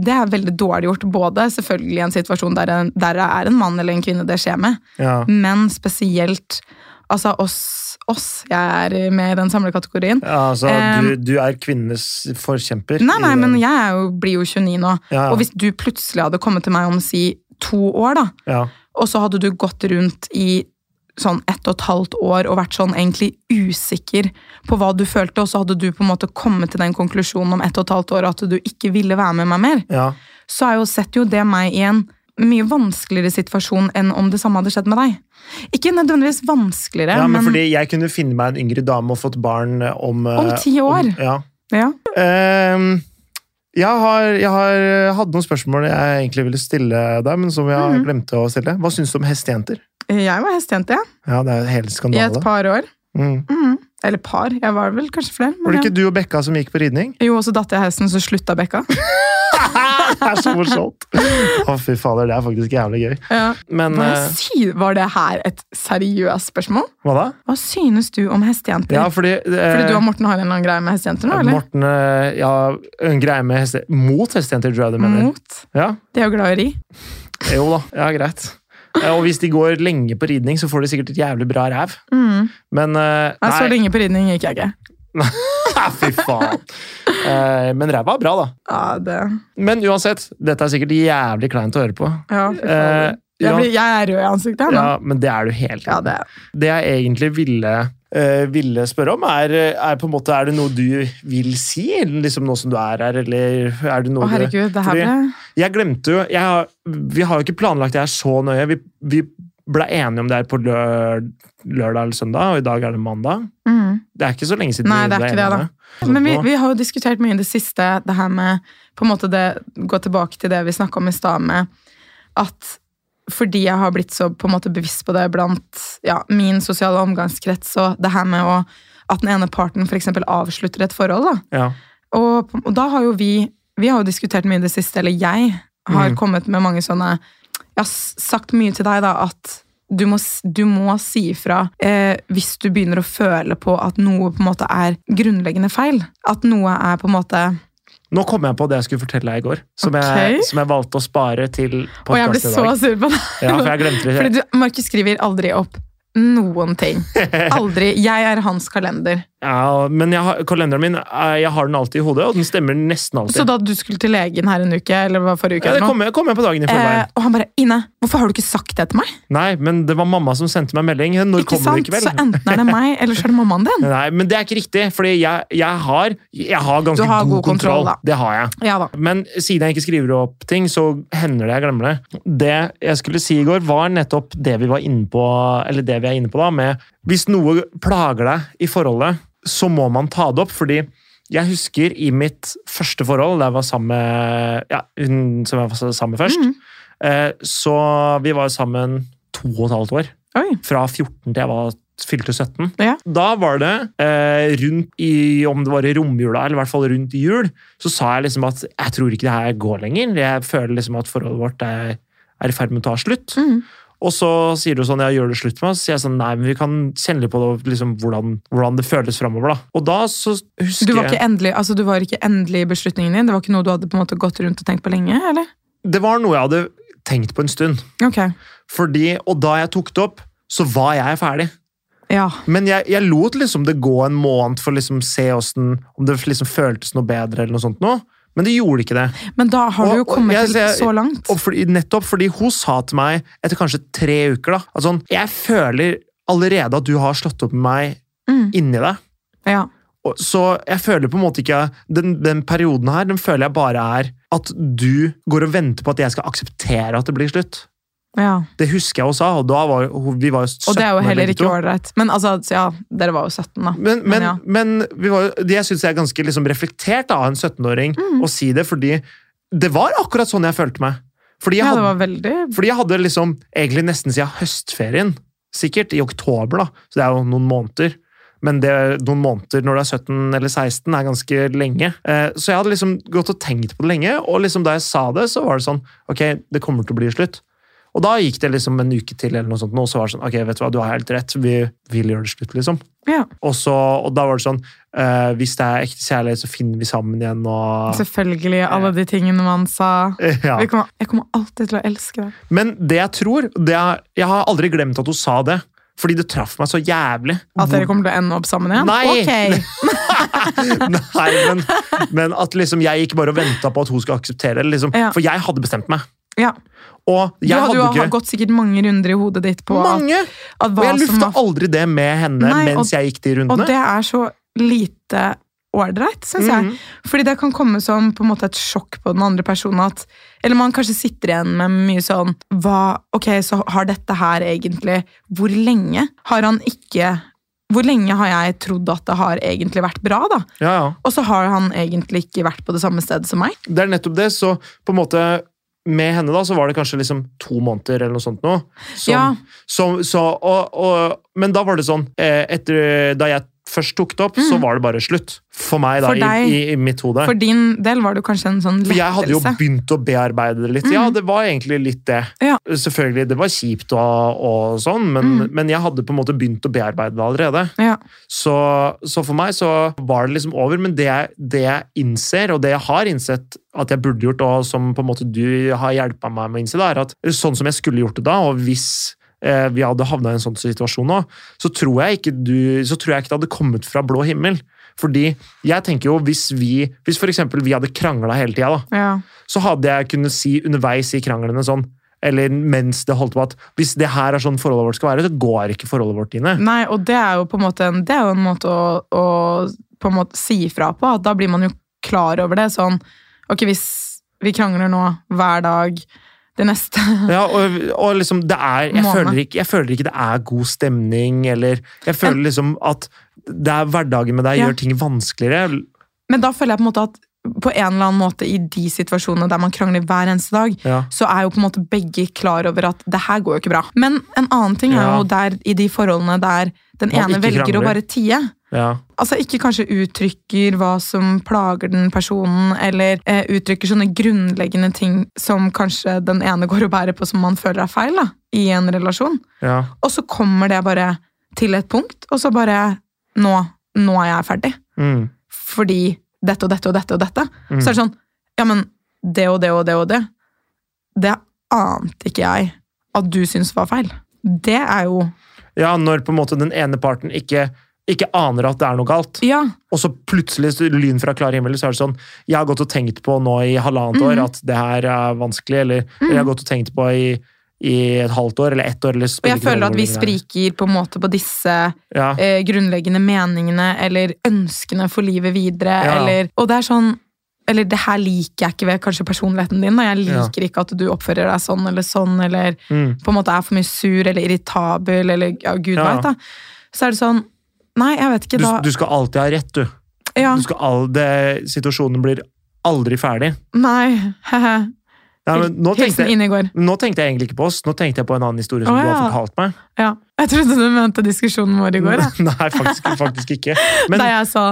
B: Det er veldig dårlig gjort. Både selvfølgelig i en situasjon der, en, der det er en mann eller en kvinne det skjer med,
A: ja.
B: men spesielt altså oss, oss jeg er med i den samlekategorien.
A: Ja, altså,
B: Em,
A: du, du er kvinnenes forkjemper.
B: Eh, Nei, nei,
A: i-
B: men jeg er jo, blir jo 29 nå.
A: Ja, ja.
B: Og hvis du plutselig hadde kommet til meg om si to år, da,
A: ja.
B: og så hadde du gått rundt i sånn ett og et halvt år og vært sånn egentlig usikker på hva du følte, og så hadde du på en måte kommet til den konklusjonen om ett og et halvt år at du ikke ville være med meg mer,
A: ja.
B: så er jo, setter jo det meg i en mye vanskeligere situasjon enn om det samme hadde skjedd med deg. Ikke nødvendigvis vanskeligere,
A: Ja, men,
B: men,
A: fordi jeg kunne finne meg en yngre dame og fått barn eh, om eh,
B: om ti år.
A: om- ja.
B: ja.
A: Ehm, jeg har, jeg har eh, hadde noen spørsmål jeg egentlig ville stille deg, men som jeg
B: Mhm.
A: glemte å stille. Hva syns du om hestejenter?
B: Jeg var hestejente, jeg.
A: Ja, det er jo hele
B: I et
A: skandale.
B: par år.
A: Mm.
B: Mhm. Eller par. Jeg var vel kanskje flere. men
A: Var det
B: ja.
A: ikke du og Bekka som gikk på ridning? [LAUGHS]
B: Jo, og så datt jeg av hesten, så slutta bekka.
A: Det er så morsomt! Å, fy fader, det er faktisk jævlig gøy.
B: [LAUGHS] Ja.
A: Men
B: Hva
A: eh,
B: sy- var det her et seriøst spørsmål?
A: hva da?
B: Hva synes du om hestejenter?
A: Ja, fordi, eh,
B: Fordi du og Morten har en eller annen greie med hestejenter nå, eller?
A: Morten eh, ja, en greie med heste... Mot hestejenter, tror jeg du mener.
B: Mot.
A: Ja,
B: De er jo glad i å ri.
A: Jo da, ja, greit. Eh, Og hvis de går lenge på ridning, så får de sikkert et jævlig bra ræv.
B: Mm.
A: Men eh,
B: Nei, så
A: [LAUGHS] Nei,
B: lenge på ridning gikk jeg ikke.
A: fy faen! Eh, men ræva er bra, da.
B: Ja, det...
A: Men uansett, dette er sikkert jævlig kleint å høre på.
B: Ja, fy
A: Eh,
B: faen. Jeg, blir, jeg er rød i ansiktet her nå.
A: ja, men det er du hele
B: Ja,
A: tiden.
B: det.
A: Det jeg egentlig ville, eh, ville spørre om, er, er på en måte, er det noe du vil si, liksom nå som du er her, eller er det
B: Å,
A: noe du
B: herregud, det her
A: fordi-
B: ble...
A: Jeg glemte jo jeg har, Vi har jo ikke planlagt det her så nøye. Vi, vi ble enige om det her på lø- lørdag eller søndag, og i dag er det mandag.
B: Mm.
A: Det er ikke så lenge siden
B: Nei,
A: vi
B: det er
A: ble
B: ikke det, da.
A: enige.
B: Men vi, vi har jo diskutert mye i det siste det her med på en måte det, Gå tilbake til det vi snakka om i stad, med at fordi jeg har blitt så på en måte bevisst på det blant ja, min sosiale omgangskrets, og det her med å, at den ene parten f.eks. avslutter et forhold, da.
A: Ja.
B: Og, på- og da har jo vi Vi har jo diskutert mye i det siste, eller jeg har
A: Mm.
B: kommet med mange sånne Jeg har s- sagt mye til deg, da, at du må, s- du må si ifra eh, hvis du begynner å føle på at noe på en måte er grunnleggende feil. At noe er på en måte
A: Nå kom jeg på det jeg skulle fortelle deg i går, som,
B: Ok.
A: jeg, som jeg valgte å spare til
B: Og jeg ble
A: podkast i
B: så
A: dag.
B: sur på deg.
A: Ja, for jeg glemte det.
B: [LAUGHS] Fordi du, Markus skriver aldri opp noen
A: [LAUGHS]
B: ting. Aldri. Jeg er hans kalender.
A: Ja, men jeg har, kalenderen min eh, jeg har den alltid i hodet, og den stemmer nesten alltid.
B: Så da du skulle til legen her en uke, eller hva forrige uke,
A: ja, det
B: eller noe,
A: kom jeg, kom jeg på dagen i
B: eh,
A: forveien.
B: og han bare 'Ine, hvorfor har du ikke sagt det til meg?'
A: Nei, men det var mamma som sendte meg melding. Når
B: Ikke
A: kommer
B: sant?
A: du i kveld?
B: Så enten er det meg, eller så er det mammaen din.
A: Nei, men det er ikke riktig, fordi jeg, jeg, har, jeg har ganske
B: Du har
A: god,
B: god kontroll,
A: kontroll.
B: da.
A: det har jeg.
B: Ja da.
A: Men siden jeg ikke skriver opp ting, så hender det jeg glemmer det. Det jeg skulle si i går, var nettopp det vi var inne på, eller det vi er inne på da, med hvis noe plager deg i forholdet, så må man ta det opp, fordi jeg husker i mitt første forhold, da jeg var sammen med ja, hun som jeg var sammen med først,
B: Mhm.
A: eh, så vi var sammen to og et halvt år
B: Oi.
A: fra 14 til jeg var fylte 17.
B: Ja.
A: Da var det eh, rundt i, om det var i romjula, eller i hvert fall rundt jul, så sa jeg liksom at jeg tror ikke det her går lenger. Jeg føler liksom at forholdet vårt er, er i ferd med å ta slutt.
B: Mhm.
A: Og så sier du sånn, ja, gjør det slutt med oss? Så sier jeg sånn, nei, men vi kan kjenne litt på det, liksom, hvordan, hvordan det føles fremover, da. Og da så husker
B: Du var
A: jeg...
B: ikke endelig altså, du var ikke endelig i beslutningen din? Det var ikke noe du hadde på en måte gått rundt og tenkt på lenge? eller?
A: Det var noe jeg hadde tenkt på en stund.
B: Ok,
A: Fordi, og da jeg tok det opp, så var jeg ferdig.
B: ja.
A: Men jeg, jeg lot liksom det gå en måned for å liksom se hvordan, om det liksom føltes noe bedre. eller noe sånt nå. Men det gjorde ikke det.
B: Men da har du
A: Og-
B: jo kommet
A: jeg-
B: til
A: jeg-
B: så langt.
A: Og fordi, nettopp fordi hun sa til meg etter kanskje tre uker da, at sånn, jeg føler allerede at du har slått opp med meg
B: Mm.
A: inni deg.
B: Ja.
A: Og- Så jeg føler på en måte ikke Den, den perioden her, den føler jeg bare er at du går og venter på at jeg skal akseptere at det blir slutt.
B: ja.
A: Det husker jeg hun sa, og da var hun- vi var jo 17
B: Og det er jo heller
A: begge to.
B: ikke ålreit. Men altså, ja, dere var jo 17, da.
A: Men, men,
B: Men ja.
A: men vi var, jo- det jeg syns er ganske liksom reflektert av en 17-åring
B: Mm.
A: å si det, fordi det var akkurat sånn jeg følte meg. Fordi jeg,
B: Ja, det
A: hadde,
B: var veldig
A: fordi jeg hadde liksom egentlig nesten siden høstferien, sikkert i oktober, da, så det er jo noen måneder. Men det, noen måneder når du er 17 eller 16, er ganske lenge. Eh, Så jeg hadde liksom gått og tenkt på det lenge, og liksom da jeg sa det, så var det sånn Ok, det kommer til å bli slutt. Og da gikk det liksom en uke til, eller noe sånt, og så var det sånn Ok, vet du hva, du har helt rett. Vi vil gjøre det slutt, liksom.
B: Ja,
A: Og, så, og da var det sånn eh, Hvis det er ekte kjærlighet, så finner vi sammen igjen. Og, [LAUGHS]
B: selvfølgelig. Alle de tingene man sa.
A: ja.
B: Vi kommer, jeg kommer alltid til å elske deg.
A: Men det jeg tror det er, Jeg har aldri glemt at hun sa det. Fordi det traff meg så jævlig.
B: [LAUGHS] At dere kommer til å ende opp sammen igjen?
A: Nei!
B: Ok.
A: [LAUGHS] Nei, men, men at liksom jeg gikk bare og venta på at hun skulle akseptere det. Liksom.
B: Ja.
A: For jeg hadde bestemt meg.
B: Ja.
A: Og
B: Du
A: jeg
B: hadde jo
A: hadde ikke
B: gått sikkert mange runder i hodet ditt på at-
A: mange!
B: at
A: Og
B: hva
A: jeg
B: som
A: lufta
B: var
A: aldri det med henne
B: Nei, og-
A: mens jeg gikk de
B: Og
A: rundene.
B: det er så lite ålreit, syns jeg.
A: Mhm.
B: Fordi det kan komme som på en måte et sjokk på den andre personen. At, eller man kanskje sitter igjen med mye sånn hva, Ok, så har dette her egentlig Hvor lenge har han ikke Hvor lenge har jeg trodd at det har egentlig vært bra, da?
A: Ja, ja.
B: Og så har han egentlig ikke vært på det samme stedet som meg.
A: Det er nettopp det. Så på en måte med henne da, så var det kanskje liksom to måneder eller noe sånt nå. Som,
B: Ja.
A: som, så, og, og, men da var det sånn, eh, etter, da jeg først tok det opp, så var det bare slutt. For meg da,
B: Mm. For deg.
A: i, i, i mitt hode.
B: For din del var det jo kanskje en sånn
A: For jeg hadde jo
B: lettelse. Mm.
A: begynt å bearbeide det litt. Ja, det var egentlig litt det.
B: Ja. Mm.
A: Selvfølgelig, det var kjipt og, og sånn, men, men jeg hadde på en måte begynt å bearbeide det allerede.
B: Ja.
A: Så, så for meg så var det liksom over, men det, jeg- det jeg innser, og det jeg har innsett at jeg burde gjort, og som på en måte du har hjulpet meg med å innse, det er at sånn som jeg skulle gjort det da, og hvis eh, vi hadde havna i en sånn situasjon nå, så tror jeg ikke, du, så tror jeg ikke det hadde kommet fra blå himmel. Fordi jeg tenker jo, hvis vi, hvis for eksempel vi hadde krangla hele tida, da,
B: Ja.
A: så hadde jeg kunnet si underveis i kranglene sånn, eller mens det holdt på at hvis det her er sånn forholdet vårt skal være, så går ikke forholdet vårt inn.
B: Nei, og det er jo på en måte en, det er jo en måte å, å på en måte si ifra på. At da blir man jo klar over det. Sånn, ok, hvis vi krangler nå hver dag det neste [LAUGHS]
A: Ja, og, og liksom, det er, jeg,
B: Måned.
A: føler ikke, jeg føler ikke det er god stemning, eller jeg føler liksom at det er hverdagen med deg
B: Ja.
A: gjør ting vanskeligere.
B: Men da føler jeg på en måte at på en eller annen måte i de situasjonene der man krangler hver eneste dag,
A: Ja.
B: så er jo på en måte begge klar over at det her går jo ikke bra. Men en annen ting er
A: Ja.
B: jo der i de forholdene der den
A: Man
B: ene
A: ikke
B: velger å
A: krangler.
B: bare tie.
A: Ja.
B: altså ikke kanskje uttrykker hva som plager den personen, eller eh, uttrykker sånne grunnleggende ting som kanskje den ene går og bærer på som man føler er feil da, i en relasjon.
A: Ja.
B: Og så kommer det bare til et punkt, og så bare nå, nå er jeg ferdig.
A: Mm.
B: Fordi dette og dette og dette og dette.
A: Mm.
B: Så er det sånn, ja men det og det og det og det, det ante ikke jeg at du synes var feil. Det er jo,
A: ja, når på en måte den ene parten ikke, ikke aner at det er noe galt,
B: ja,
A: og så plutselig så lyn fra klar himmel, så er det sånn Jeg har gått og tenkt på nå i halvannet år
B: Mm.
A: at det her er vanskelig, eller, eller jeg har gått og tenkt på i, i et halvt år eller ett år. Eller
B: og
A: spiller
B: jeg
A: ikke noe
B: føler at
A: rolle
B: vi
A: hvor lenge det
B: spriker på en måte på disse
A: er. Ja.
B: eh, grunnleggende meningene eller ønskene for livet videre.
A: Ja.
B: Eller, og det er sånn Eller det her liker jeg ikke ved kanskje personligheten din. Da. Jeg
A: Ja.
B: liker ikke at du oppfører deg sånn eller sånn, eller
A: Mm.
B: på en måte er for mye sur eller irritabel, eller ja, gud
A: Ja.
B: veit, da. Så er det sånn Nei, jeg vet ikke,
A: Du,
B: da.
A: du skal alltid ha rett, du.
B: ja,
A: du skal all, det, situasjonen blir aldri ferdig.
B: nei, hehe.
A: Ja, men nå, tenkte
B: Hilsen
A: jeg,
B: Inegård.
A: nå tenkte jeg egentlig ikke på oss, nå tenkte jeg på en annen historie som
B: Å,
A: du har
B: ja.
A: fortalt meg.
B: Ja. Jeg trodde du mente diskusjonen vår i går. Ja.
A: [LAUGHS] Nei, faktisk, faktisk ikke. Men
B: [LAUGHS] Da
A: jeg,
B: jeg sa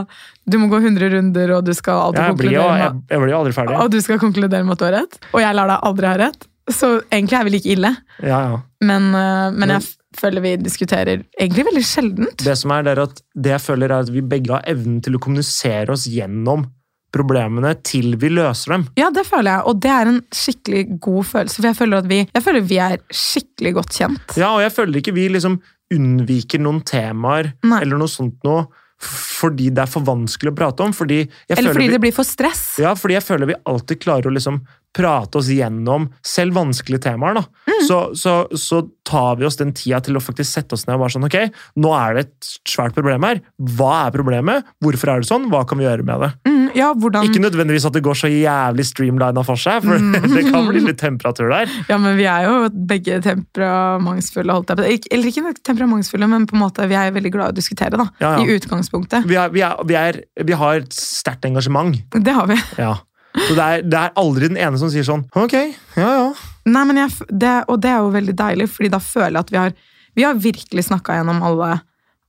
B: du må gå 100 runder, og du skal alltid
A: blir jo,
B: konkludere med
A: jeg, jeg blir jo aldri ferdig.
B: og du skal konkludere med at du har rett, og jeg lar deg aldri ha rett, så egentlig er vi like ille.
A: Ja, ja.
B: Men, øh, men
A: Men-
B: jeg f- føler vi diskuterer egentlig veldig sjeldent.
A: Det som er, det er at det jeg føler, er at vi begge har evnen til å kommunisere oss gjennom problemene til vi løser dem.
B: Ja, det føler jeg, og det er en skikkelig god følelse, for jeg føler at vi, jeg føler vi er skikkelig godt kjent.
A: Ja, og jeg føler ikke vi liksom unnviker noen temaer
B: Nei.
A: eller noe sånt noe fordi det er for vanskelig å prate om. Fordi jeg
B: Eller
A: føler vi-
B: fordi det blir for stress.
A: Ja, fordi jeg føler vi alltid klarer å liksom prate oss gjennom selv vanskelige temaer, da, så, så, så tar vi oss den tida til å faktisk sette oss ned og bare sånn Ok, nå er det et svært problem her. Hva er problemet? Hvorfor er det sånn? Hva kan vi gjøre med det?
B: Mm, ja, hvordan
A: Ikke nødvendigvis at det går så jævlig streamlina for seg, for [LAUGHS] det kan bli litt temperatur der.
B: Ja, men vi er jo begge temperamentsfulle, holdt jeg på. å si. Ikke- Eller ikke temperamentsfulle, men på en måte vi er veldig glad i å diskutere, da.
A: Ja, ja.
B: I utgangspunktet.
A: Vi, er, vi, er, vi, er, vi har et sterkt engasjement.
B: Det har vi.
A: Ja. Så det er, det er aldri den ene som sier sånn Ok, ja ja.
B: Nei, men jeg, f- det, og det er jo veldig deilig, fordi da føler jeg at vi har, vi har virkelig snakka gjennom alle,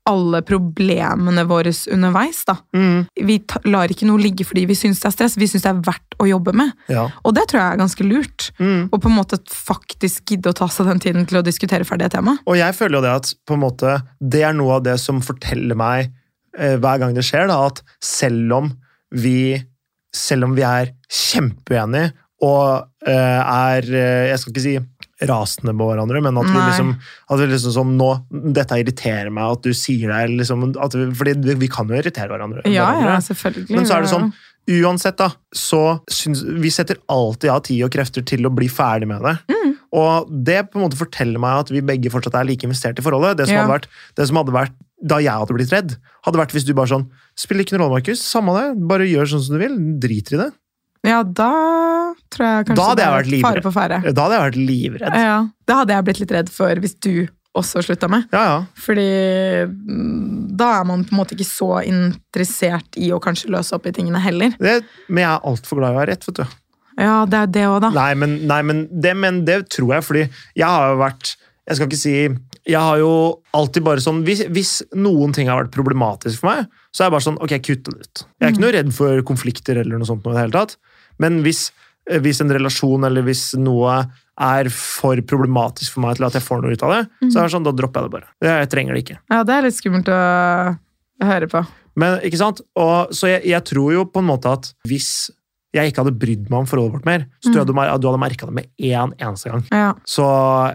B: alle problemene våre underveis, da.
A: Mm,
B: Vi ta, lar ikke noe ligge fordi vi syns det er stress, vi syns det er verdt å jobbe med.
A: ja.
B: Og det tror jeg er ganske lurt.
A: Mm.
B: Og på en måte faktisk gidde å ta seg den tiden til å diskutere ferdig et tema.
A: Og jeg føler jo det at på en måte, det er noe av det som forteller meg eh, hver gang det skjer, da, at selv om vi, selv om vi er kjempeenige og eh, er eh, Jeg skal ikke si rasende på hverandre, men at vi
B: Nei.
A: liksom, at vi liksom som nå, Dette irriterer meg, at du sier det liksom, at vi, Fordi vi, vi kan jo irritere hverandre.
B: Ja,
A: hverandre.
B: ja, selvfølgelig.
A: Men så er det sånn, uansett da, så syns vi setter alltid av tid og krefter til å bli ferdig med det.
B: Mm.
A: Og det på en måte forteller meg at vi begge fortsatt er like investert i forholdet. Det som,
B: Ja.
A: hadde, vært, det som hadde vært da jeg hadde blitt redd, hadde vært hvis du bare sånn Spiller ikke noen rolle, Markus. Samme det. Bare gjør sånn som du vil. Driter i det.
B: Ja, da tror jeg kanskje
A: Da hadde
B: det
A: jeg
B: er
A: vært livredd.
B: Fare på ferde.
A: [LAUGHS] Da hadde jeg vært livredd.
B: Ja, det hadde jeg blitt litt redd for hvis du også slutta med.
A: Ja, ja.
B: Fordi mm, da er man på en måte ikke så interessert i å kanskje løse opp i tingene heller.
A: Det, men jeg er altfor glad i å ha rett, vet du.
B: Ja, det er det òg, da.
A: [LAUGHS] Nei, men, nei, men, det, men det tror jeg, fordi jeg har jo vært Jeg skal ikke si Jeg har jo alltid bare sånn Hvis, hvis noen ting har vært problematisk for meg, så er jeg bare sånn Ok, kutt det ut. Jeg er ikke noe redd for konflikter eller noe sånt. Noe i det hele tatt. Men hvis, eh, hvis en relasjon eller hvis noe er for problematisk for meg til at jeg får noe ut av det, så er det sånn, da dropper jeg det bare. Jeg trenger det ikke.
B: Ja, det er litt skummelt å høre på.
A: Men, ikke sant? Og, så jeg, jeg tror jo på en måte at hvis jeg ikke hadde brydd meg om forholdet vårt mer, så tror jeg du, mer- du hadde merka det med én eneste gang.
B: Ja. [LAUGHS]
A: Så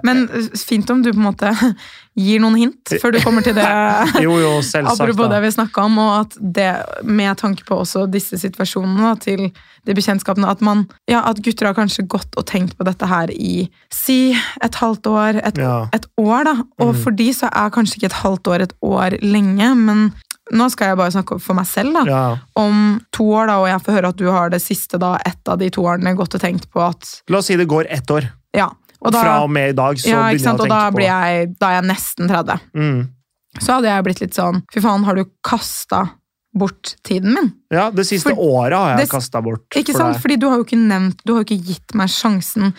B: Men eh, fint om du på en måte [LAUGHS] gir noen hint før du kommer til det.
A: [LAUGHS] Jo, jo,
B: [LAUGHS]
A: selvsagt.
B: Apropos
A: da.
B: det vi snakka om, og at det med tanke på også disse situasjonene da, til de bekjentskapene, at man, ja, at gutter har kanskje gått og tenkt på dette her i si et halvt år, et,
A: Ja.
B: et år, da. Og
A: Mm.
B: for de så er kanskje ikke et halvt år et år lenge, men nå skal jeg bare snakke for meg selv, da.
A: Ja,
B: Om to år, da, og jeg får høre at du har det siste, da, ett av de to årene, gått og tenkt på at
A: La oss si det går ett år.
B: Ja. Og da,
A: Fra og med i dag så
B: ja, ikke
A: begynner jeg
B: sant?
A: å
B: Og da,
A: tenke på
B: blir jeg, da er jeg nesten 30
A: mm.
B: så hadde jeg blitt litt sånn Fy faen, har du kasta bort tiden min?
A: Ja, det siste
B: For-
A: året har jeg
B: det-
A: kasta bort
B: Ikke
A: for
B: sant?
A: deg.
B: Fordi du har jo ikke nevnt Du har jo ikke gitt meg sjansen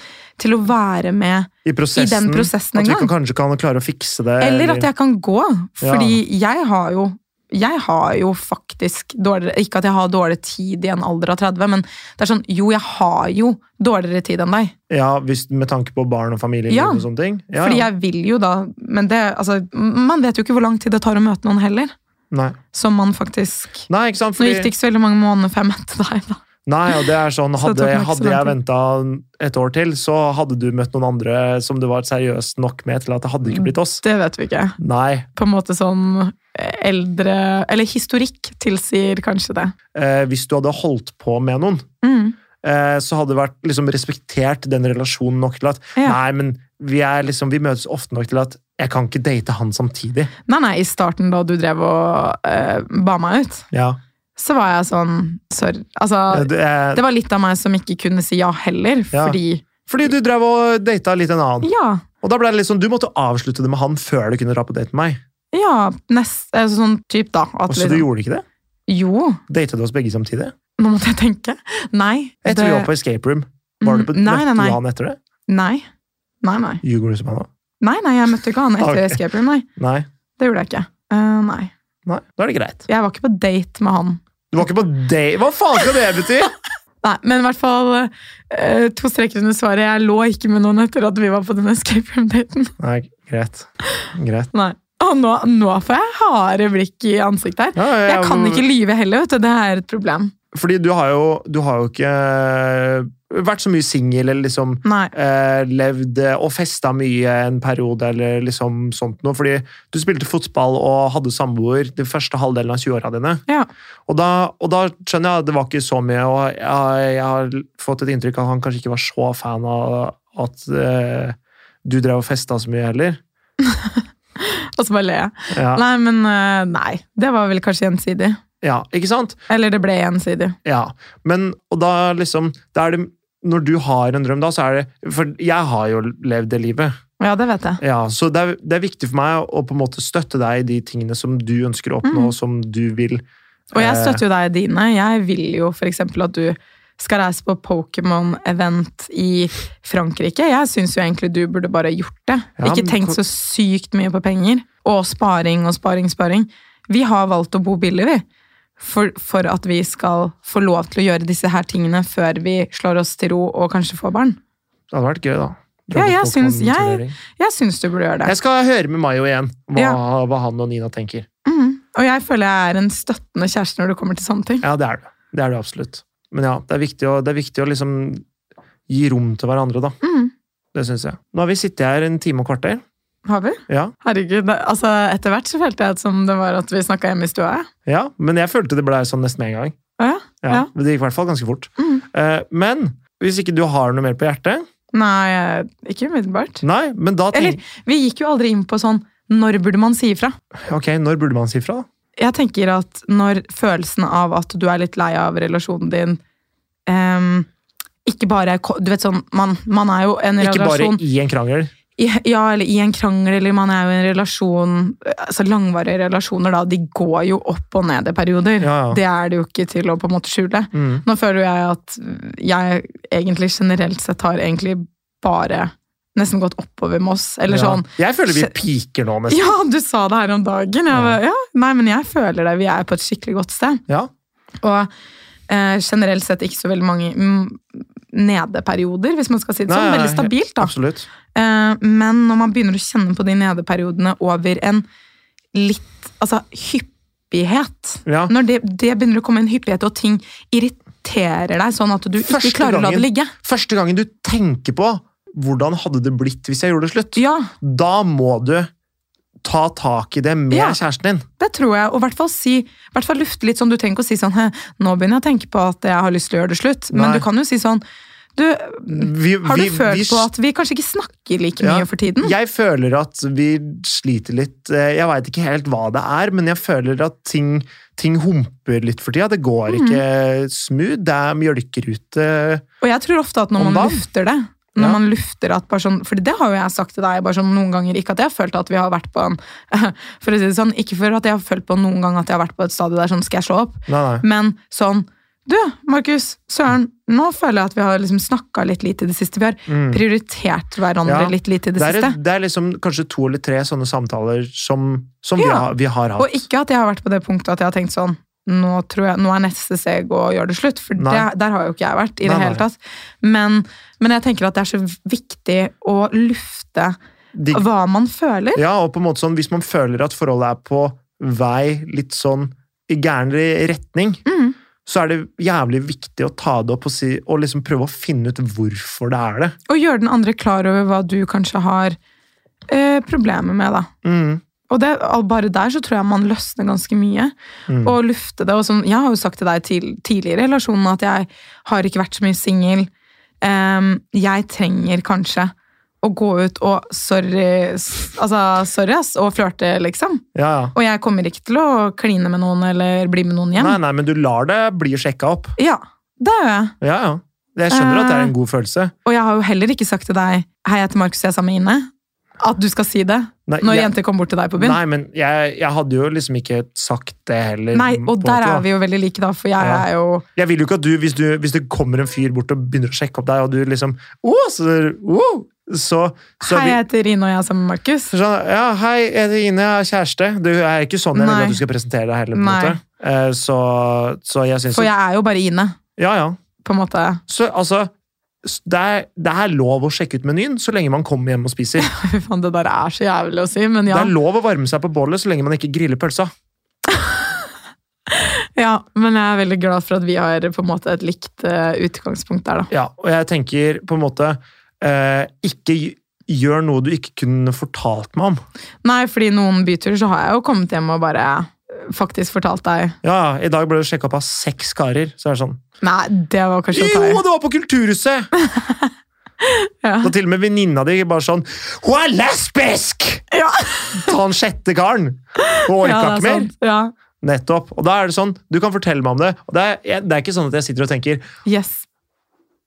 B: til å være med,
A: I, prosessen,
B: i den prosessen
A: At vi
B: engang.
A: kan, kanskje kan klare å fikse det.
B: eller at jeg kan gå. Fordi jeg har jo jeg har jo faktisk dårligere Ikke at jeg har dårlig tid i en alder av 30, men det er sånn Jo, jeg har jo dårligere tid enn deg.
A: Ja, hvis, Med tanke på barn og familie
B: Ja,
A: og sånne ting. Ja,
B: Fordi
A: ja.
B: jeg vil jo da Men det, altså, man vet jo ikke hvor lang tid det tar å møte noen heller.
A: Nei.
B: Som man faktisk
A: Nei, ikke sant?
B: Nå
A: Fordi,
B: gikk det ikke så veldig mange måneder før jeg møtte deg, da.
A: Nei, og det er sånn,
B: [LAUGHS] Så
A: Hadde,
B: det tok meg ikke så
A: hadde
B: lang
A: jeg
B: tid.
A: venta et år til, så hadde du møtt noen andre som du var seriøst nok med til at det hadde ikke
B: Mm.
A: blitt oss.
B: Det vet vi ikke.
A: Nei.
B: på en måte sånn eldre Eller historikk tilsier kanskje det. Mm.
A: Eh, hvis du hadde holdt på med noen, eh, så hadde det vært liksom respektert den relasjonen nok til at
B: Ja.
A: Nei, men vi, er liksom, vi møtes ofte nok til at jeg kan ikke date han samtidig.
B: Nei, nei, i starten da du drev og eh, ba meg ut,
A: Ja.
B: så var jeg sånn Sorry. Altså,
A: Det, eh,
B: det var litt av meg som ikke kunne si ja heller,
A: Ja.
B: fordi
A: fordi du drev og data litt en annen.
B: Ja.
A: Og da ble det litt sånn, Du måtte avslutte det med han før du kunne dra på date med meg.
B: Ja, nest, eh, sånn type, da. At
A: Og så du
B: liksom-
A: gjorde ikke det?
B: Jo,
A: Data du oss begge samtidig?
B: nå måtte jeg tenke. Nei.
A: Etter vi var på Escape Room. Var du på,
B: Mm, nei, nei,
A: Møtte
B: nei.
A: du han etter det?
B: Nei. Nei, nei.
A: Ljuger du som han da?
B: Nei, nei, jeg møtte ikke han
A: [LAUGHS]
B: etter
A: Ok.
B: Escape Room, nei.
A: Nei.
B: Det gjorde jeg ikke. Eh, nei.
A: nei. Da er det greit.
B: Jeg var ikke på date med han.
A: Du var ikke på date Hva faen skal det bety?!
B: [LAUGHS] Nei, men i hvert fall eh, to streker under svaret. Jeg lå ikke med noen etter at vi var på den escape room-daten.
A: Nei, greit. Greit.
B: [LAUGHS] Nei. Og nå, nå får jeg harde blikk i ansiktet her.
A: Ja, ja, ja,
B: Jeg kan ikke lyve heller, vet du. Det er et problem.
A: Fordi du har jo, du har jo ikke vært så mye singel eller liksom
B: Nei.
A: eh, levd eh, og festa mye en periode eller liksom sånt noe. Fordi du spilte fotball og hadde samboer den første halvdelen av 20-åra dine.
B: Ja.
A: Og da, og da skjønner jeg at det var ikke så mye, og jeg, jeg har fått et inntrykk av at han kanskje ikke var så fan av at eh, du drev og festa så mye heller.
B: Og så bare ler jeg.
A: Ja,
B: Nei, men eh, nei. Det var vel kanskje gjensidig.
A: ja ikke sant?
B: Eller det ble gjensidig.
A: Ja, men og da liksom da er det, Når du har en drøm, da, så er det For jeg har jo levd det livet.
B: Ja, det vet jeg.
A: Ja, så det er, det er viktig for meg å på en måte støtte deg i de tingene som du ønsker å oppnå,
B: Mm.
A: og som du vil.
B: Og jeg
A: eh,
B: støtter jo deg i dine. Jeg vil jo f.eks. at du skal reise på Pokémon-event i Frankrike. Jeg syns jo egentlig du burde bare gjort det.
A: Ja,
B: Ikke
A: men
B: tenkt
A: hvor-
B: så sykt mye på penger. Og sparing og sparing, sparing. Vi har valgt å bo billig, vi. For, for at vi skal få lov til å gjøre disse her tingene før vi slår oss til ro og kanskje får barn.
A: Det hadde vært gøy, da.
B: Ja, jeg
A: Dra på
B: syns- jeg-
A: Pokémon-turnering.
B: Jeg syns du burde gjøre det.
A: Jeg skal høre med Mayo igjen hva,
B: Ja.
A: hva han og Nina tenker.
B: Mm. Og jeg føler jeg er en støttende kjæreste når det kommer til sånne ting.
A: Ja, det er du. Det er du absolutt. Men ja, det er viktig å, det er viktig å liksom gi rom til hverandre, da.
B: Mm.
A: Det syns jeg. Nå har vi sittet her en time og kvarter.
B: Har vi?
A: Ja,
B: Herregud, det, altså Etter hvert så følte jeg som det var at vi snakka hjemme i stua. jeg.
A: ja, men jeg følte det ble sånn nesten med en gang.
B: Å ja?
A: Ja,
B: Ja.
A: men Det gikk i hvert fall ganske fort.
B: Mm.
A: Eh, men hvis ikke du har noe mer på hjertet
B: Nei, eh, ikke umiddelbart.
A: Nei, men da
B: Eller
A: tenk,
B: vi gikk jo aldri inn på sånn når burde man si ifra?
A: Ok, når burde man si fra, da?
B: Jeg tenker at når følelsen av at du er litt lei av relasjonen din ehm, Ikke bare er ko- Du vet sånn, man, man er jo en
A: Ikke bare
B: relasjon
A: i en krangel.
B: i, Ja, eller i en krangel, eller man er jo i en relasjon Altså langvarige relasjoner, da, de går jo opp og ned i perioder.
A: Ja, ja.
B: Det er det jo ikke til å på en måte skjule.
A: Mm.
B: Nå føler jo jeg at jeg egentlig generelt sett har egentlig bare nesten gått oppover med oss. Eller
A: Ja.
B: sånn
A: Jeg føler vi piker nå, nesten.
B: Ja, du sa det her om dagen! Jeg, var- ja, nei, men jeg føler det. Vi er på et skikkelig godt sted.
A: Ja.
B: Og eh, generelt sett ikke så veldig mange mm, nedeperioder, hvis man skal si det sånn.
A: Nei,
B: Veldig stabilt, da.
A: Absolutt.
B: Eh, men når man begynner å kjenne på de nedeperiodene over en litt altså, hyppighet
A: Ja.
B: Når det, det begynner å komme en hyppighet, og ting irriterer deg sånn at du
A: Første
B: ikke klarer å la det
A: gangen.
B: ligge
A: Første gangen du tenker på hvordan hadde det blitt hvis jeg gjorde det slutt,
B: Ja,
A: da må du ta tak i det med
B: Ja.
A: kjæresten din.
B: det tror jeg. Og i hvert fall si, i hvert fall lufte litt sånn. Du trenger ikke å si sånn «Hæ, 'Nå begynner jeg å tenke på at jeg har lyst til å gjøre det slutt', men
A: Nei.
B: du kan jo si sånn du,
A: Vi,
B: Har du
A: vi-
B: følt
A: vi-
B: på at vi kanskje ikke snakker like
A: Ja.
B: mye for tiden?
A: Jeg føler at vi sliter litt. Eh, Jeg veit ikke helt hva det er, men jeg føler at ting, ting humper litt for tida. Det går
B: Mm.
A: ikke smooth. Det er mjølkerute.
B: Og jeg tror ofte at når
A: Om
B: man
A: dagen?
B: lufter det når
A: Ja.
B: man lufter at bare sånn, For det har jo jeg sagt til deg bare sånn noen ganger. Ikke at jeg har følt at vi har vært på en [LAUGHS] For å si det sånn, ikke for at jeg har følt på noen gang at jeg har vært på et stadium der sånn Skal jeg slå opp?
A: Nei, nei.
B: Men sånn Du, Markus, søren, nå føler jeg at vi har liksom snakka litt lite i det siste. Vi har
A: Mm.
B: prioritert hverandre
A: Ja,
B: litt lite i det,
A: Det er,
B: siste.
A: det er liksom kanskje to eller tre sånne samtaler som, som vi,
B: Ja.
A: har, vi har hatt.
B: Og ikke at jeg har vært på det punktet at jeg har tenkt sånn nå, tror jeg, nå er neste steg å gjøre det slutt, for det,
A: Nei.
B: der har jo ikke jeg vært.
A: Nei,
B: i det
A: nei.
B: hele tatt. Men, men jeg tenker at det er så viktig å lufte
A: De-
B: hva man føler.
A: ja, og på en måte sånn, Hvis man føler at forholdet er på vei litt sånn i gæren retning,
B: Mm.
A: så er det jævlig viktig å ta det opp og, si, og liksom prøve å finne ut hvorfor det er det.
B: Og gjøre den andre klar over hva du kanskje har eh, problemer med. da.
A: Mm.
B: Og det, al- Bare der så tror jeg man løsner ganske mye.
A: Mm.
B: Og lufte det. Og sånn, jeg har jo sagt til deg til, tidligere i relasjonen at jeg har ikke vært så mye singel. Ehm, jeg trenger kanskje å gå ut og sorry, s- altså, sorry ass, og flørte, liksom.
A: Ja, ja.
B: Og jeg kommer ikke til å kline med noen eller bli med noen hjem.
A: Nei, nei, men du lar det bli sjekka opp.
B: Ja, det gjør jeg.
A: Ja, ja. Jeg skjønner at det er
B: Ah.
A: en god følelse.
B: Og jeg har jo heller ikke sagt til deg Hei, jeg heter Markus, jeg er sammen med Ine. At du skal si det
A: Nei,
B: når
A: jeg,
B: jenter kommer bort til deg på byen.
A: nei men jeg, jeg hadde jo liksom ikke sagt det heller.
B: Nei,
A: på en
B: og der
A: måte, da.
B: er vi jo veldig like, da, for jeg
A: Ja.
B: er jo
A: Jeg vil jo ikke at du, hvis, du, hvis det kommer en fyr bort og begynner å sjekke opp deg, og du liksom «Å, så, å», så, så
B: Hei, jeg
A: vil-
B: heter Ine, og jeg er sammen med Markus.
A: så sånn, Ja, hei, jeg heter Ine, jeg er kjæreste. Det er ikke sånn jeg vil
B: Nei.
A: at du skal presentere deg heller. på en
B: Nei.
A: måte. Eh, Så, så jeg syns
B: For jeg er jo bare Ine,
A: Ja, ja.
B: på en måte. [LAUGHS]
A: Så altså s- det er, det er lov å sjekke ut menyen så lenge man kommer hjem og spiser.
B: Fy faen, det der er så jævlig å si, men
A: Det
B: ja.
A: er lov å varme seg på bålet så lenge man ikke griller pølsa.
B: Ja, men jeg er veldig glad for at vi har på en måte et likt eh, utgangspunkt der, da.
A: Ja, og jeg tenker på en måte eh, Ikke gjør noe du ikke kunne fortalt meg om.
B: Nei, fordi noen byturer så har jeg jo kommet hjem og bare eh, faktisk fortalt deg
A: Ja, I dag ble det sjekka opp av seks karer. Så er det sånn
B: Nei, det var kanskje å ta i.
A: Jo, det var på Kulturhuset!
B: Ja.
A: Og til og med venninna di bare sånn Hun er lesbisk!
B: Ja.
A: Ta den sjette karen! Hun orka
B: Ja, det
A: ikke
B: er
A: mer.
B: sant. Ja.
A: Nettopp. Og da er det sånn, du kan fortelle meg om det. Og det er, jeg, det er ikke sånn at jeg sitter og tenker
B: Yes.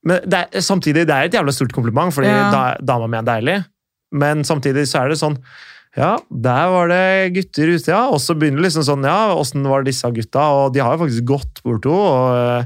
A: Men det er, samtidig, det er et jævla stort kompliment, fordi
B: Ja.
A: da, dama mi er deilig. Men samtidig så er det sånn Ja, der var det gutter ute, ja. Og så begynner det liksom sånn Ja, åssen var disse gutta? Og de har jo faktisk gått bort henne, og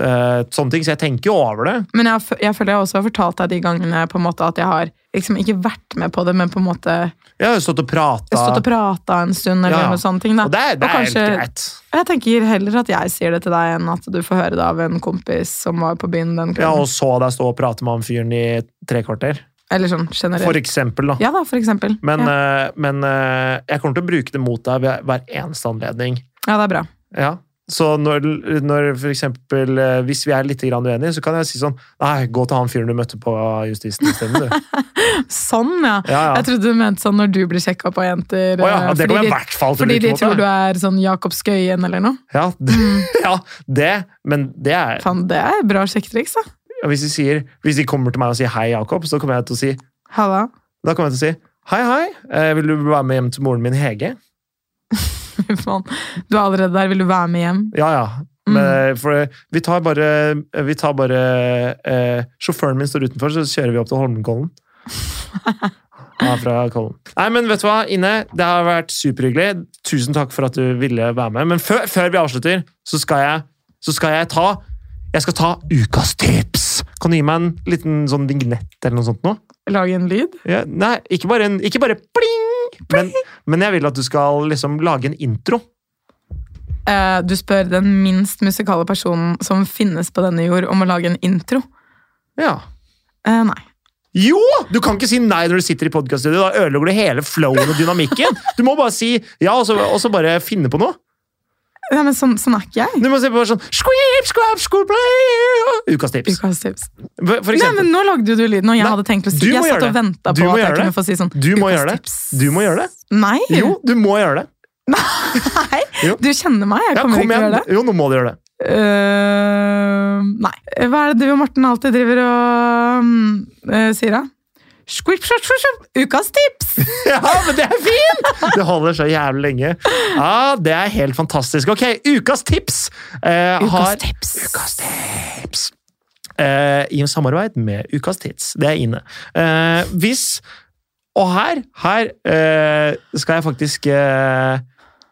A: eh, sånne ting. Så jeg tenker jo over det.
B: Men jeg, f- jeg føler jeg også har fortalt deg de gangene på en måte at jeg har liksom ikke vært med på det, men på en måte
A: Jeg har jo stått og prata.
B: stått og prata en stund eller
A: Ja.
B: noe sånne ting. Da.
A: Og det er, det er
B: kanskje,
A: helt greit.
B: Jeg tenker heller at jeg sier det til deg enn at du får høre det av en kompis som var på byen
A: Ja,
B: den kvelden.
A: og så deg stå og prate med han fyren i tre kvarter.
B: eller sånn generelt.
A: For eksempel, da.
B: ja da, for eksempel.
A: Men,
B: ja.
A: eh, men eh, jeg kommer til å bruke det mot deg ved hver eneste anledning.
B: ja, det er bra.
A: Ja. Så når, når for eksempel, eh, hvis vi er litt grann uenige, så kan jeg si sånn Nei, gå til han fyren du møtte på justisen isteden,
B: [LAUGHS]
A: du.
B: Sånn, ja.
A: Ja, ja.
B: Jeg trodde du mente sånn når du blir sjekka opp av jenter.
A: Å ja,
B: eh,
A: det
B: fordi
A: kommer jeg i
B: de-
A: hvert fall til å
B: fordi de
A: bruke
B: tror
A: mot
B: du Mm.
A: deg.
B: er sånn Jakob Skøyen eller noe.
A: Ja, det, [LAUGHS] ja, det. Men det er
B: Faen, det er bra sjekketriks, da.
A: ja, hvis de, sier, hvis de kommer til meg og sier 'hei, Jakob', så kommer jeg til å si
B: Halla. [LAUGHS]
A: Da kommer jeg til å si 'hei, hei, eh, vil du være med hjem til moren min, Hege'?
B: Fy faen. Du er allerede der. Vil du være med hjem?
A: Ja, ja. Men, for eh, vi tar bare, vi tar bare eh, Sjåføren min står utenfor, så kjører vi opp til [LAUGHS] Holmenkollen. Ja, fra Kollen. Nei, men vet du hva, Ine? Det har vært superhyggelig. Tusen takk for at du ville være med. Men før, før vi avslutter, så skal, jeg, så skal jeg ta Jeg skal ta ukas tips! Kan du gi meg en liten sånn vignett eller noe sånt? Nå?
B: Lage en lyd?
A: Ja, nei, ikke bare, en, ikke bare pling! Men, men jeg vil at du skal liksom lage en intro.
B: Eh, du spør den minst musikale personen som finnes på denne jord, om å lage en intro.
A: Ja.
B: Eh, nei.
A: Jo! Du kan ikke si nei når du sitter i podkaststudio. Da ødelegger du hele flowen og
B: [LAUGHS]
A: dynamikken. Du må bare si ja, og så, og så bare finne på noe.
B: nei, men sånn, sånn er ikke jeg.
A: Du må se på sånn squip, squap, squaplay, Ukas tips.
B: Ukas tips.
A: For for
B: Nei,
A: eksempel.
B: men nå lagde jo du lyden, og jeg
A: Nei,
B: hadde tenkt å si
A: du
B: Jeg
A: må
B: satt
A: gjøre
B: og
A: det.
B: venta
A: Du
B: på
A: må
B: at jeg
A: gjøre det.
B: kunne få si sånn
A: Du må
B: ukas
A: gjøre det.
B: tips.
A: Du må gjøre det.
B: Nei.
A: Jo, du må gjøre det.
B: [LAUGHS] Nei.
A: Jo.
B: Du kjenner meg. Jeg
A: Ja,
B: kommer
A: kom
B: ikke til å
A: igjen.
B: gjøre det.
A: Jo, nå må du gjøre det. [LAUGHS]
B: Eh, nei. Hva er det du og Morten alltid driver og mm, eh, sier, da? Squip, squip, squip, squip. Ukas tips!
A: Ja, men det er fint! Det holder så jævlig lenge. Ja, Det er helt fantastisk. Ok, ukas tips eh, har
B: Ukas tips.
A: Ukas tips. Eh, I samarbeid med Ukas tids. Det er inne. Eh, hvis Og her, her eh, skal jeg faktisk eh,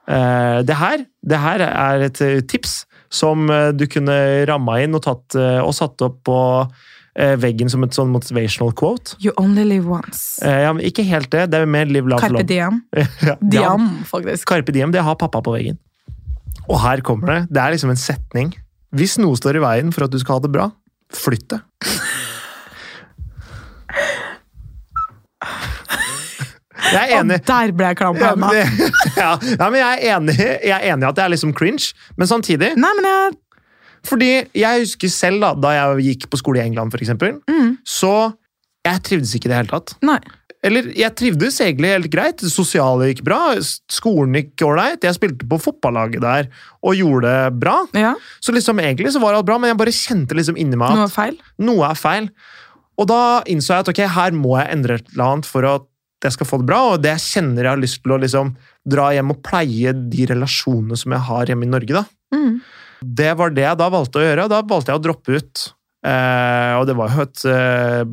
A: eh, Det her det her er et eh, tips som eh, du kunne ramma inn og, tatt, eh, og satt opp på eh, veggen som et sånn motivational quote.
B: You only live once.
A: Eh, ja, men ikke helt det. Det er mer live love
B: Carpe
A: love.
B: diem.
A: Ja, Diam.
B: Diam, faktisk.
A: Carpe diem, det har pappa på veggen. Og her kommer det. Det er liksom en setning. Hvis noe står i veien for at du skal ha det bra, flytt det. Jeg er enig.
B: Og der ble jeg klam på
A: Ja, men,
B: henda.
A: det, [LAUGHS] ja, ja, men jeg er enig Jeg er enig i at det er liksom cringe, men samtidig
B: Nei, men jeg
A: Fordi jeg husker selv, da da jeg gikk på skole i England, for eksempel,
B: Mm.
A: så jeg trivdes ikke i det hele tatt.
B: Nei.
A: Eller, jeg trivdes egentlig helt greit. Det sosiale gikk bra, s- skolen gikk ålreit. Jeg spilte på fotballaget der og gjorde det bra.
B: Ja,
A: Så liksom egentlig så var alt bra, men jeg bare kjente liksom inni meg
B: noe
A: at
B: feil?
A: noe er feil. Og da innså jeg at ok, her må jeg endre et eller annet for at jeg skal få det bra, og det jeg kjenner jeg har lyst til å liksom dra hjem og pleie de relasjonene som jeg har hjemme i Norge, da.
B: Mm.
A: Det var det jeg da valgte å gjøre, og da valgte jeg å droppe ut. Eh, og det var jo et eh,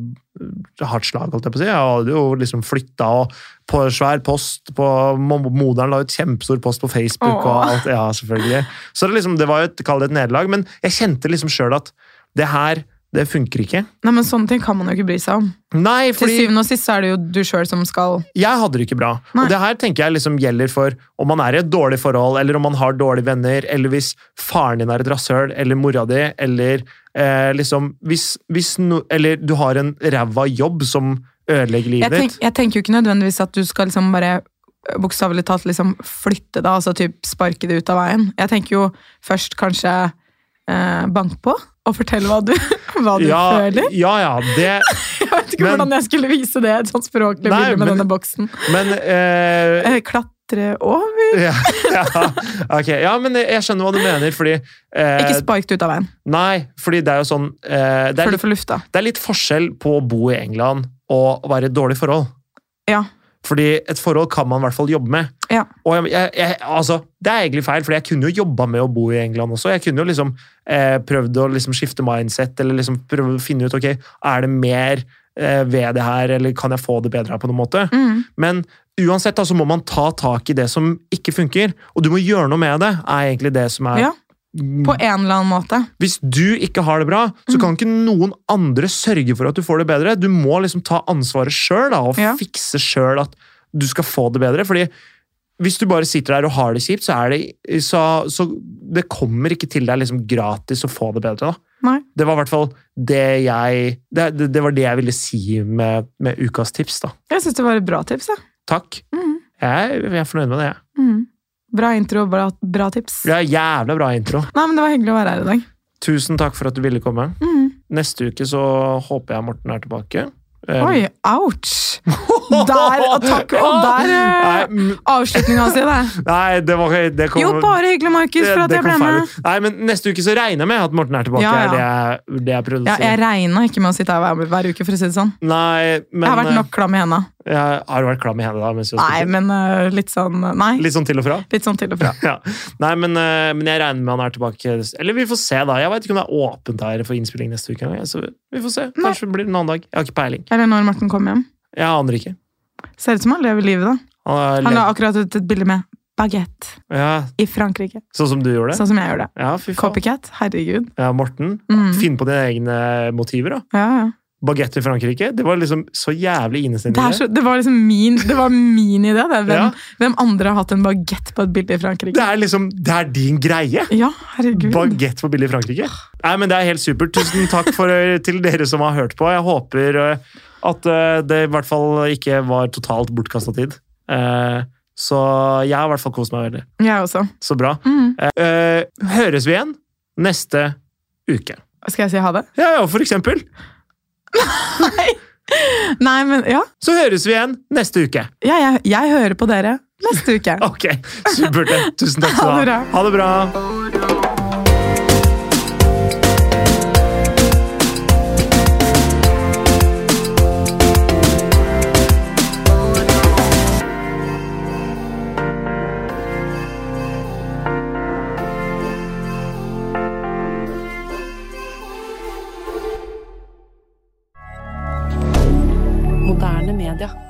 A: hardt slag, holdt jeg på å si. Jeg hadde jo liksom flytta og på svær post på mo- Moderen la ut kjempestor post på Facebook og
B: Åh.
A: alt. Ja, selvfølgelig. Så det, liksom, det var jo et, kall det et nederlag, men jeg kjente liksom sjøl at det her, det funker ikke.
B: Nei, men Sånne ting kan man jo ikke bry seg om.
A: Nei,
B: Til
A: fordi
B: syvende og sist så er det jo du sjøl som skal
A: jeg hadde det ikke bra. Og
B: Nei.
A: det her tenker jeg liksom gjelder for om man er i et dårlig forhold, eller om man har dårlige venner, eller hvis faren din er et rasshøl, eller mora di, eller eh, liksom hvis, hvis no, Eller du har en ræva jobb som ødelegger
B: jeg,
A: livet
B: tenk,
A: ditt.
B: jeg tenker jo ikke nødvendigvis at du skal liksom bare bokstavelig talt liksom flytte det, altså typ sparke det ut av veien. Jeg tenker jo først kanskje eh, bank på og fortell hva du, [LAUGHS] hva du
A: ja,
B: føler.
A: ja, ja, det
B: Jeg vet ikke
A: men-
B: hvordan jeg skulle vise det et sånt språklig
A: Nei,
B: bilde med
A: men-
B: denne boksen.
A: Men eh,
B: Eh, klatre over
A: ja, ja, ok. ja, men jeg skjønner hva du mener, fordi eh,
B: Ikke spark det ut av veien
A: Nei, fordi det er jo sånn eh, det, er
B: før du
A: litt,
B: får lufta.
A: det er litt forskjell på å bo i England og være i et dårlig forhold.
B: Ja.
A: Fordi et forhold kan man i hvert fall jobbe med.
B: Ja.
A: Og jeg, jeg, jeg, altså, det er egentlig feil, for jeg kunne jo jobba med å bo i England også. Jeg kunne jo liksom eh, prøvd å liksom skifte mindset, eller liksom prøve å finne ut ok, er det mer eh, ved det her, eller kan jeg få det bedre her på noen måte.
B: Mm.
A: Men uansett da, så må man ta tak i det som ikke funker, og du må gjøre noe med det, er egentlig det som er
B: Ja, på en eller annen måte.
A: Hvis du ikke har det bra, så
B: Mm.
A: kan ikke noen andre sørge for at du får det bedre. Du må liksom ta ansvaret sjøl og
B: Ja.
A: fikse sjøl at du skal få det bedre. fordi hvis du bare sitter der og har det kjipt, så, er det, så, så det kommer ikke til deg liksom gratis å få det bedre. da.
B: Nei.
A: Det var i hvert fall det jeg det, det, det var det jeg ville si med, med ukas tips. da.
B: Jeg syns det var et bra tips. Ja.
A: Takk.
B: Mm.
A: Jeg, jeg er fornøyd med det. jeg.
B: Mm. Bra intro, bra, bra tips.
A: Det er Jævla bra intro.
B: Nei, men Det var hyggelig å være her i dag.
A: Tusen takk for at du ville komme.
B: Mm.
A: Neste uke så håper jeg Morten er tilbake. Eh,
B: Oi,
A: [LAUGHS]
B: ouch! Der, og takk, og der
A: Nei,
B: eh,
A: mm,
B: Avslutninga si,
A: [LAUGHS]
B: det.
A: nei, det var det kom,
B: Jo, bare hyggelig, Markus, for at
A: det
B: jeg
A: kom
B: ble
A: feil
B: med.
A: ut. Nei, men Neste uke så regner jeg med at Morten er tilbake.
B: Ja, ja.
A: er Det, jeg, det jeg prøvde å
B: Ja,
A: si.
B: jeg regna ikke med å sitte her hver, hver uke, for å si det sånn.
A: Nei, men,
B: Jeg har vært nok klam i henda.
A: eh, jeg har vært klam i hendene da. Mens vi har
B: Nei,
A: spilt.
B: men eh, litt sånn Nei.
A: Litt sånn til og fra.
B: Litt sånn til og fra.
A: Ja. Nei, men, eh, men jeg regner med han er tilbake. Eller vi får se, da. Jeg vet ikke om det er åpent her for innspilling neste uke. Så vi får se.
B: Nei.
A: Kanskje det blir en annen dag. Jeg har ikke peiling.
B: Eller når Morten kommer hjem.
A: Jeg aner ikke.
B: Ser ut som han lever livet, da.
A: Han er
B: Han la
A: ledd-
B: akkurat ut et bilde med baguette
A: ja,
B: i Frankrike.
A: sånn som du gjorde det?
B: Sånn som jeg gjør det.
A: Ja, fy faen.
B: Copycat. Herregud.
A: Ja, Morten,
B: Mm.
A: finn på dine egne motiver, da.
B: Ja, ja.
A: Bagett i Frankrike, det var liksom så jævlig
B: Det,
A: innestendig.
B: er så, det var liksom min, det var min idé. Det. Hvem,
A: Ja.
B: hvem andre har hatt en bagett på et bilde i
A: det
B: Frankrike?
A: er liksom Det er din greie!
B: Ja, herregud.
A: Bagett på billig i Frankrike. Nei, men Det er helt supert. Tusen takk for, eh, til dere som har hørt på. Jeg håper eh, at eh, det i hvert fall ikke var totalt bortkasta tid. Eh, Så jeg har i hvert fall kost meg veldig.
B: Jeg også.
A: Så bra.
B: Mm.
A: Eh, Høres vi igjen neste uke.
B: Skal jeg si ha det?
A: Ja, ja, for eksempel.
B: Nei, men ja.
A: Så høres vi igjen neste uke.
B: ja jeg, jeg hører på dere neste uke.
A: Ok, supert. det. Tusen takk skal du ha. Ha det bra.
C: Moderne media.